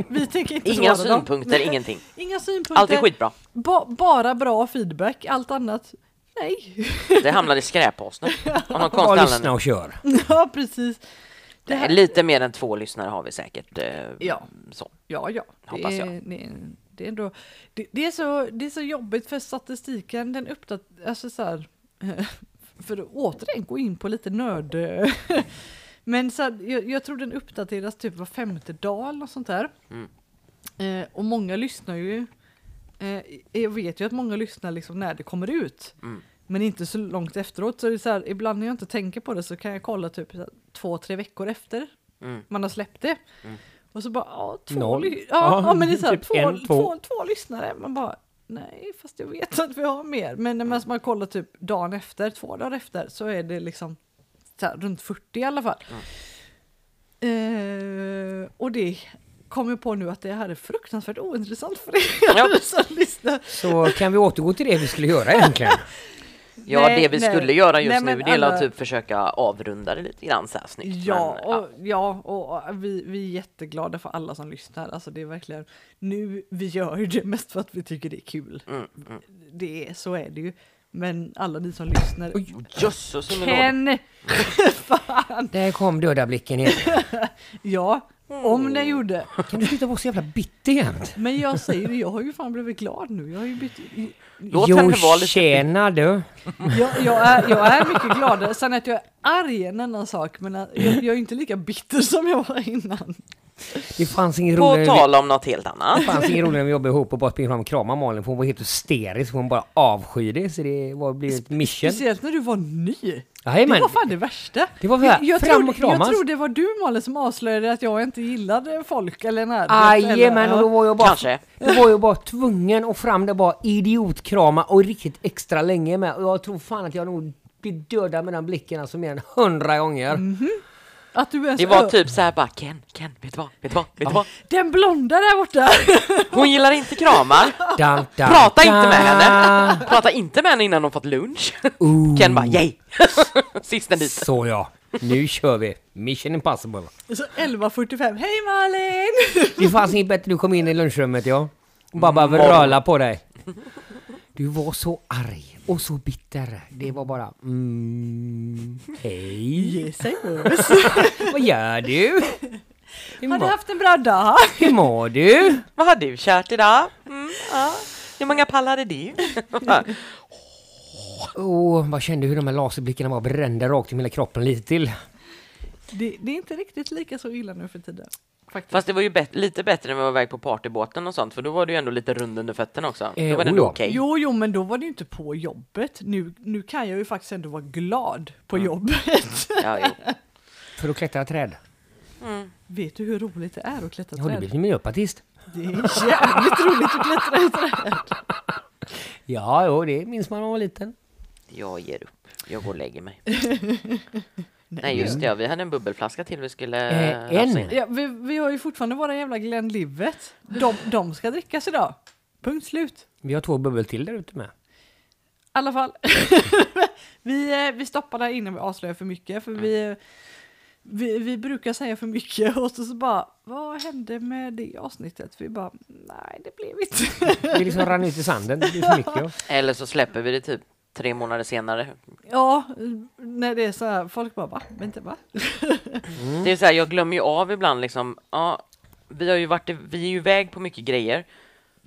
[SPEAKER 1] Vi tänker inte
[SPEAKER 2] Inga
[SPEAKER 1] svara dem.
[SPEAKER 2] synpunkter, ingenting.
[SPEAKER 1] Inga synpunkter.
[SPEAKER 2] Allt är skitbra.
[SPEAKER 1] Ba- bara bra feedback, allt annat. Nej.
[SPEAKER 2] Det hamnar i skräpposten. Av någon
[SPEAKER 3] Bara
[SPEAKER 2] konstig
[SPEAKER 3] lyssna
[SPEAKER 2] anledning.
[SPEAKER 3] och kör.
[SPEAKER 1] ja, precis. Det här-
[SPEAKER 2] Lite mer än två lyssnare har vi säkert. eh,
[SPEAKER 1] Ja.
[SPEAKER 2] Så.
[SPEAKER 1] Ja, ja.
[SPEAKER 2] Hoppas
[SPEAKER 1] det,
[SPEAKER 2] jag.
[SPEAKER 1] är- Det, är- det, är ändå, det, det, är så, det är så jobbigt för statistiken, den uppdaterar, alltså så här, för att återigen gå in på lite nörd... Men så här, jag, jag tror den uppdateras typ var femte dag eller något sånt där.
[SPEAKER 2] Mm.
[SPEAKER 1] Eh, och många lyssnar ju... Eh, jag vet ju att många lyssnar liksom när det kommer ut.
[SPEAKER 2] Mm.
[SPEAKER 1] Men inte så långt efteråt. Så, det är så här, ibland när jag inte tänker på det så kan jag kolla typ så här, två, tre veckor efter
[SPEAKER 2] Mm.
[SPEAKER 1] man har släppt det.
[SPEAKER 2] Mm.
[SPEAKER 1] Och så bara, ja, två,
[SPEAKER 3] Noll.
[SPEAKER 1] ly- ja,
[SPEAKER 3] Ja,
[SPEAKER 1] ja men det är så här,
[SPEAKER 3] typ
[SPEAKER 1] två,
[SPEAKER 3] en,
[SPEAKER 1] två.
[SPEAKER 3] två.
[SPEAKER 1] Två, lyssnare. Man bara, nej, fast jag vet att vi har mer. Men
[SPEAKER 3] Mm.
[SPEAKER 1] när man, man kollar typ dagen efter, två dagar efter, så är det liksom så här, runt 40 i alla fall.
[SPEAKER 2] Mm.
[SPEAKER 1] Eh, och det kom jag på nu att det här är fruktansvärt ointressant för er
[SPEAKER 2] Ja.
[SPEAKER 1] som lyssnar.
[SPEAKER 3] Så kan vi återgå till det vi skulle göra egentligen.
[SPEAKER 2] Ja,
[SPEAKER 1] Nej,
[SPEAKER 2] det vi
[SPEAKER 1] nej.
[SPEAKER 2] skulle göra
[SPEAKER 1] Nej,
[SPEAKER 2] just
[SPEAKER 1] men
[SPEAKER 2] nu det är att
[SPEAKER 1] alla-
[SPEAKER 2] typ försöka avrunda det lite grann så här snyggt.
[SPEAKER 1] Ja,
[SPEAKER 2] men,
[SPEAKER 1] och, ja, och och vi, vi är jätteglada för alla som lyssnar. Alltså det är verkligen, nu, vi gör ju det mest för att vi tycker det är kul.
[SPEAKER 2] Mm, mm.
[SPEAKER 1] Det är, så är det ju. Men alla ni som lyssnar,
[SPEAKER 2] Jösses under lådan.
[SPEAKER 1] Ken! Fan!
[SPEAKER 3] Där kom dödarblicken igen.
[SPEAKER 1] Ja, om
[SPEAKER 3] Mm.
[SPEAKER 1] den gjorde.
[SPEAKER 3] Kan du sluta vara så jävla bitter jämt?
[SPEAKER 1] Men jag säger det, jag har ju fan blivit glad nu. Jag har ju bytt...
[SPEAKER 2] Låt henne vara lite...
[SPEAKER 3] tjena du.
[SPEAKER 1] Jag, jag, är, jag är mycket gladare. Sen att jag är arg är en annan sak, men att jag, jag är inte lika bitter som jag var innan.
[SPEAKER 3] Det fanns ingen
[SPEAKER 2] På
[SPEAKER 3] roligare...
[SPEAKER 2] tal om något helt annat.
[SPEAKER 3] Det fanns ingen roligare än vi jobbade ihop och bara springa fram och krama Malin för hon var helt hysterisk. Hon bara avskyr det så det var blev ett mission.
[SPEAKER 1] Speciellt när du var ny.
[SPEAKER 3] Jajamän.
[SPEAKER 1] Det var fan det värsta.
[SPEAKER 3] Det var väl-
[SPEAKER 1] jag,
[SPEAKER 3] fram
[SPEAKER 1] trodde,
[SPEAKER 3] och kramas.
[SPEAKER 1] jag tror det var du Malin som avslöjade att jag inte gillade folk eller närhet.
[SPEAKER 3] Jajamän och då var jag bara...
[SPEAKER 2] Kanske.
[SPEAKER 3] Då var jag bara tvungen och fram där bara idiotkrama och riktigt extra länge med. Och jag tror fan att jag nog blir dödad med den blicken alltså mer än hundra gånger.
[SPEAKER 2] Mm.
[SPEAKER 1] Att du ens,
[SPEAKER 2] Det var typ så här bara Ken, Ken, vet du vad, vet du vad, vet du vad?
[SPEAKER 3] typ-
[SPEAKER 1] Den blonda där borta!
[SPEAKER 2] Hon gillar inte kramar.
[SPEAKER 3] Dun, dun,
[SPEAKER 2] Prata inte
[SPEAKER 3] dun.
[SPEAKER 2] med henne. Prata inte med henne innan hon fått lunch.
[SPEAKER 3] Ooh.
[SPEAKER 2] Ken bara yay. Sisten dit.
[SPEAKER 3] Så ja, nu kör vi. Mission impossible.
[SPEAKER 1] Så 11.45, hej Malin!
[SPEAKER 3] Det fanns inget bättre du kom in i lunchrummet ja. Och Bara bara vröla på dig. Mm. Du var så arg och så bitter. Det var bara mm, Hej,
[SPEAKER 1] Yes, I
[SPEAKER 3] vad gör du? Hur,
[SPEAKER 1] Har du
[SPEAKER 3] mår-
[SPEAKER 1] haft en bra dag?
[SPEAKER 3] hur mår du?
[SPEAKER 2] Vad har du kört idag? Mm, ja. Hur många pallar är det?
[SPEAKER 3] Åh, bara kände hur de här laserblickarna bara brände rakt i hela kroppen lite till.
[SPEAKER 1] Det, det är inte riktigt lika så illa nu för tiden. Faktiskt.
[SPEAKER 2] Fast det var ju bet- lite bättre när vi var iväg på partybåten och sånt för då var du ju ändå lite rund under fötterna också.
[SPEAKER 3] Eh,
[SPEAKER 2] Då var det
[SPEAKER 3] oh
[SPEAKER 2] ändå
[SPEAKER 3] ja.
[SPEAKER 2] okej.
[SPEAKER 1] Jo, jo, men då var det ju inte på jobbet. Nu, nu kan jag ju faktiskt ändå vara glad på jobbet.
[SPEAKER 2] Ja, jo.
[SPEAKER 3] För att klättra träd.
[SPEAKER 1] Vet du hur roligt det är att klättra
[SPEAKER 3] Har du
[SPEAKER 1] träd?
[SPEAKER 3] blivit miljöpartist?
[SPEAKER 1] Det är jävligt roligt att klättra i träd.
[SPEAKER 3] Ja, jo, det minns man när man var liten.
[SPEAKER 2] Jag ger upp. Jag går och lägger mig. Nej just det, ja, vi hade en bubbelflaska till vi skulle
[SPEAKER 3] Eh,
[SPEAKER 2] eh, rafsa
[SPEAKER 3] en.
[SPEAKER 2] in.
[SPEAKER 1] Ja, vi, vi har ju fortfarande våra jävla Glenn Livet. De, de ska drickas idag. Punkt slut.
[SPEAKER 3] Vi har två bubbel till där ute med.
[SPEAKER 1] I alla fall. vi, eh, vi stoppar där innan vi avslöjar för mycket. För vi, eh, vi, vi brukar säga för mycket och så, så bara, vad hände med det avsnittet? Vi bara, nej det blev inte.
[SPEAKER 3] Det liksom rann ut i sanden. Det är för mycket. ja.
[SPEAKER 2] Eller så släpper vi det typ tre månader senare.
[SPEAKER 1] ja, när det är så här, folk bara, va? Vänta, va? Mm.
[SPEAKER 2] Det är så här, jag glömmer ju av ibland liksom, ja, vi har ju varit, i- vi är ju iväg på mycket grejer,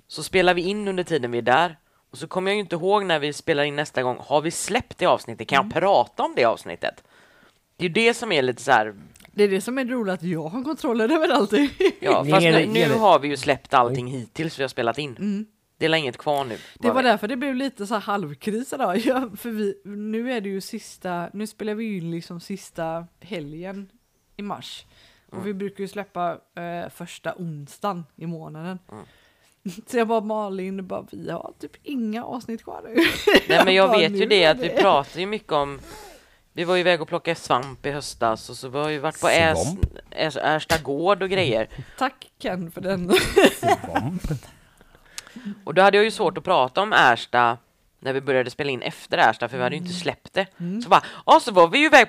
[SPEAKER 2] så spelar vi in under tiden vi är där, och så kommer jag ju inte ihåg när vi spelar in nästa gång, har vi släppt det avsnittet?
[SPEAKER 1] Mm.
[SPEAKER 2] Kan jag prata om det avsnittet? Det är ju det som är lite så här,
[SPEAKER 1] Det är det som är det roliga, att jag har kontroll över allting.
[SPEAKER 2] ja,
[SPEAKER 3] Det
[SPEAKER 2] fast
[SPEAKER 3] gäller-
[SPEAKER 2] nu, nu
[SPEAKER 3] gäller-
[SPEAKER 2] har vi ju släppt allting hittills vi har spelat in. Det är inget kvar nu.
[SPEAKER 1] Mm. Det
[SPEAKER 2] bara
[SPEAKER 1] var
[SPEAKER 2] vi-
[SPEAKER 1] därför det blev lite så här halvkris idag. Ja, för vi, nu är det ju sista, nu spelar vi ju in liksom sista helgen i mars. Och vi brukar ju släppa eh, första onsdagen i månaden. Så jag bara Malin, bara, vi har typ inga avsnitt kvar nu.
[SPEAKER 2] Nej men jag
[SPEAKER 1] bara,
[SPEAKER 2] vet
[SPEAKER 1] "Nu
[SPEAKER 2] ju det
[SPEAKER 1] är
[SPEAKER 2] att vi pratar ju mycket om Vi var ju iväg och plockade svamp i höstas och så var vi ju varit på Äs-
[SPEAKER 3] Svamp?
[SPEAKER 2] Äs- Ersta gård och grejer
[SPEAKER 1] Tack Ken för den.
[SPEAKER 2] Och då hade jag ju svårt att prata om Ersta när vi började spela in efter Ersta för vi hade ju inte släppt det. Så bara, ja så var vi ju iväg,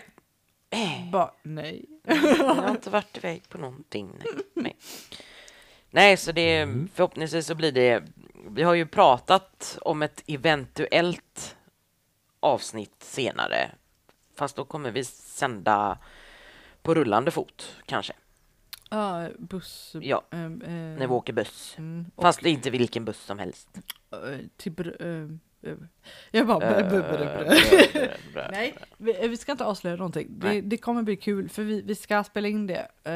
[SPEAKER 1] Mm. bara, nej.
[SPEAKER 2] jag har inte varit iväg på någonting. Nej, nej. nej så det,
[SPEAKER 1] Mm.
[SPEAKER 2] förhoppningsvis så blir det, vi har ju pratat om ett eventuellt avsnitt senare. Fast då kommer vi sända på rullande fot kanske,
[SPEAKER 1] Ja, buss.
[SPEAKER 2] Ja,
[SPEAKER 1] ehm, eh,
[SPEAKER 2] när vi åker buss.
[SPEAKER 1] mm, och,
[SPEAKER 2] Fast det är inte vilken buss som helst.
[SPEAKER 1] eh, till, Br- eh, Jag bara
[SPEAKER 2] Eh,
[SPEAKER 1] bub- bub- bub- bub.
[SPEAKER 2] bröd, bröd, bröd.
[SPEAKER 1] Nej, vi, vi ska inte avslöja någonting. Det,
[SPEAKER 2] Nej.
[SPEAKER 1] det kommer bli kul för vi, vi ska spela in det. eh,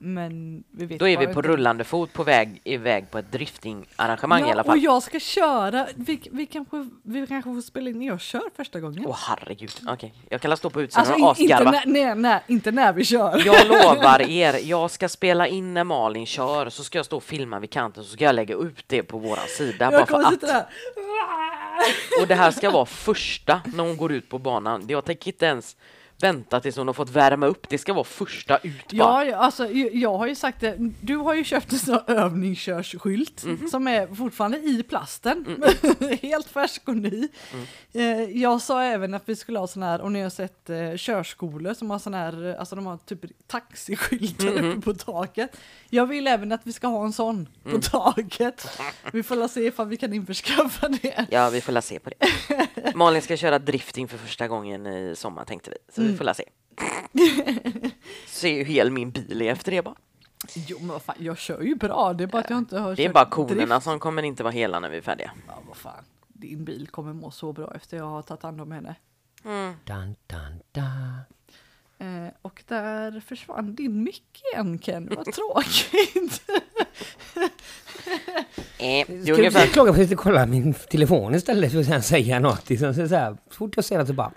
[SPEAKER 1] Men vi vet
[SPEAKER 2] Mm. Då är
[SPEAKER 1] bara
[SPEAKER 2] vi på
[SPEAKER 1] inte.
[SPEAKER 2] rullande fot på väg iväg på ett driftingarrangemang
[SPEAKER 1] ja,
[SPEAKER 2] i alla
[SPEAKER 1] Och
[SPEAKER 2] fall.
[SPEAKER 1] jag ska köra. Vi, vi, kanske, vi kanske får spela in när jag kör första gången.
[SPEAKER 2] Åh herregud, okej. Jag kan lasta upp på utsidan
[SPEAKER 1] alltså
[SPEAKER 2] och
[SPEAKER 1] in, inte,
[SPEAKER 2] asgarva.
[SPEAKER 1] när, nej, nej, inte när vi kör.
[SPEAKER 2] Jag lovar er, jag ska spela in när Malin kör, så ska jag stå och filma vid kanten, så ska jag lägga ut det på våran sida. Bara
[SPEAKER 1] Jag
[SPEAKER 2] för
[SPEAKER 1] kommer sitta
[SPEAKER 2] att.
[SPEAKER 1] där.
[SPEAKER 2] Och det här ska vara första när hon går ut på banan. Jag tänker inte ens vänta tills hon har fått värma upp, det ska vara första ut
[SPEAKER 1] Ja,
[SPEAKER 2] bara.
[SPEAKER 1] ja, alltså, ju- jag har ju sagt det. Du har ju köpt en sån här övningskörsskylt
[SPEAKER 2] Mhm.
[SPEAKER 1] som är fortfarande i plasten.
[SPEAKER 2] Mm.
[SPEAKER 1] Helt färsk och ny. Eh, jag sa även att vi skulle ha sån här, och ni har sett eh, körskolor som har sån här, eh, alltså de har typ taxiskyltar
[SPEAKER 2] Mhm.
[SPEAKER 1] uppe på taket. Jag vill även att vi ska ha en sån
[SPEAKER 2] Mm.
[SPEAKER 1] på taket. Vi får la se ifall vi kan införskaffa det.
[SPEAKER 2] Ja, vi får la se på det. Malin ska köra drifting för första gången i sommar tänkte vi, så
[SPEAKER 1] Mm.
[SPEAKER 2] vi får la se. Ser ju hel min bil är efter det bara.
[SPEAKER 1] Jo men vad fan, jag kör ju bra, det är bara att jag inte har
[SPEAKER 2] Det är
[SPEAKER 1] kört
[SPEAKER 2] bara
[SPEAKER 1] drift.
[SPEAKER 2] konerna som kommer inte vara hela när vi är färdiga.
[SPEAKER 1] Ja, vad fan. Din bil kommer må så bra efter jag har tagit hand om henne.
[SPEAKER 3] Dun, dun, dun.
[SPEAKER 1] Eh, och där försvann din mick igen Ken, vad tråkigt.
[SPEAKER 2] Eh, det är
[SPEAKER 3] Ska du
[SPEAKER 2] ungefär...
[SPEAKER 3] säga klaga på att jag inte kollar min telefon istället för att sen säga något? Liksom, så, så, här, så fort jag ser det så bara...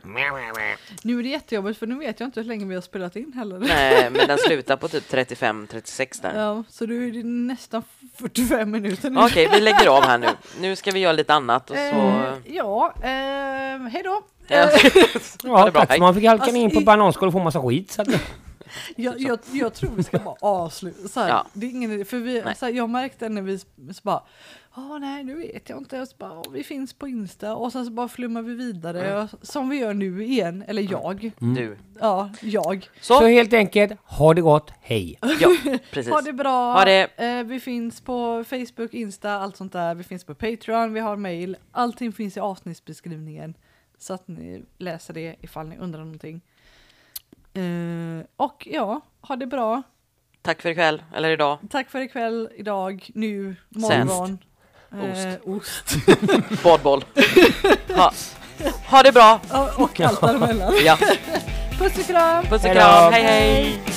[SPEAKER 1] nu är det jättejobbigt för nu vet jag inte hur länge vi har spelat in heller.
[SPEAKER 2] Nej, men den slutar på typ 35-36 där.
[SPEAKER 1] Ja, så du är det nästan 45 minuter nu.
[SPEAKER 2] Okej, vi lägger av här nu. Nu ska vi göra lite annat och så...
[SPEAKER 1] Eh, ja, eh, hej då.
[SPEAKER 2] Ja. Ha
[SPEAKER 3] Ja,
[SPEAKER 2] det bra,
[SPEAKER 3] tack.
[SPEAKER 2] hej.
[SPEAKER 3] Man fick halka ner in
[SPEAKER 1] Alltså,
[SPEAKER 3] på
[SPEAKER 1] i-
[SPEAKER 3] bananskal och få massa skit. Så att,
[SPEAKER 1] Jag, jag, jag tror vi ska bara avsluta. Så här,
[SPEAKER 2] Ja.
[SPEAKER 1] det är ingen idé, för vi,
[SPEAKER 2] Nej.
[SPEAKER 1] så här, jag märkte när vi sp- så bara, ja nej nu vet jag inte, och så bara, "Åh, vi finns på Insta och sen så bara flummar vi vidare
[SPEAKER 2] Mm.
[SPEAKER 1] och, som vi gör nu igen, eller jag,
[SPEAKER 2] Du.
[SPEAKER 1] ja jag.
[SPEAKER 3] så
[SPEAKER 2] Så,
[SPEAKER 3] helt enkelt, ha det gott, hej!
[SPEAKER 2] ja, precis.
[SPEAKER 1] Ha det bra,
[SPEAKER 2] Ha det.
[SPEAKER 1] Eh, vi finns på Facebook, Insta, allt sånt där, vi finns på Patreon, vi har mail, allting finns i avsnittsbeskrivningen så att ni läser det ifall ni undrar någonting. Eh, och ja, ha det bra.
[SPEAKER 2] Tack för ikväll, eller idag.
[SPEAKER 1] Tack för ikväll, idag, nu,
[SPEAKER 2] Sen.
[SPEAKER 1] morgon.
[SPEAKER 2] Ost.
[SPEAKER 1] Eh, ost.
[SPEAKER 2] Badboll. Ha, ha det bra!
[SPEAKER 1] och allt däremellan.
[SPEAKER 2] Ja.
[SPEAKER 1] Puss och kram!
[SPEAKER 2] Puss och
[SPEAKER 3] Hej då.
[SPEAKER 2] kram, hej hej!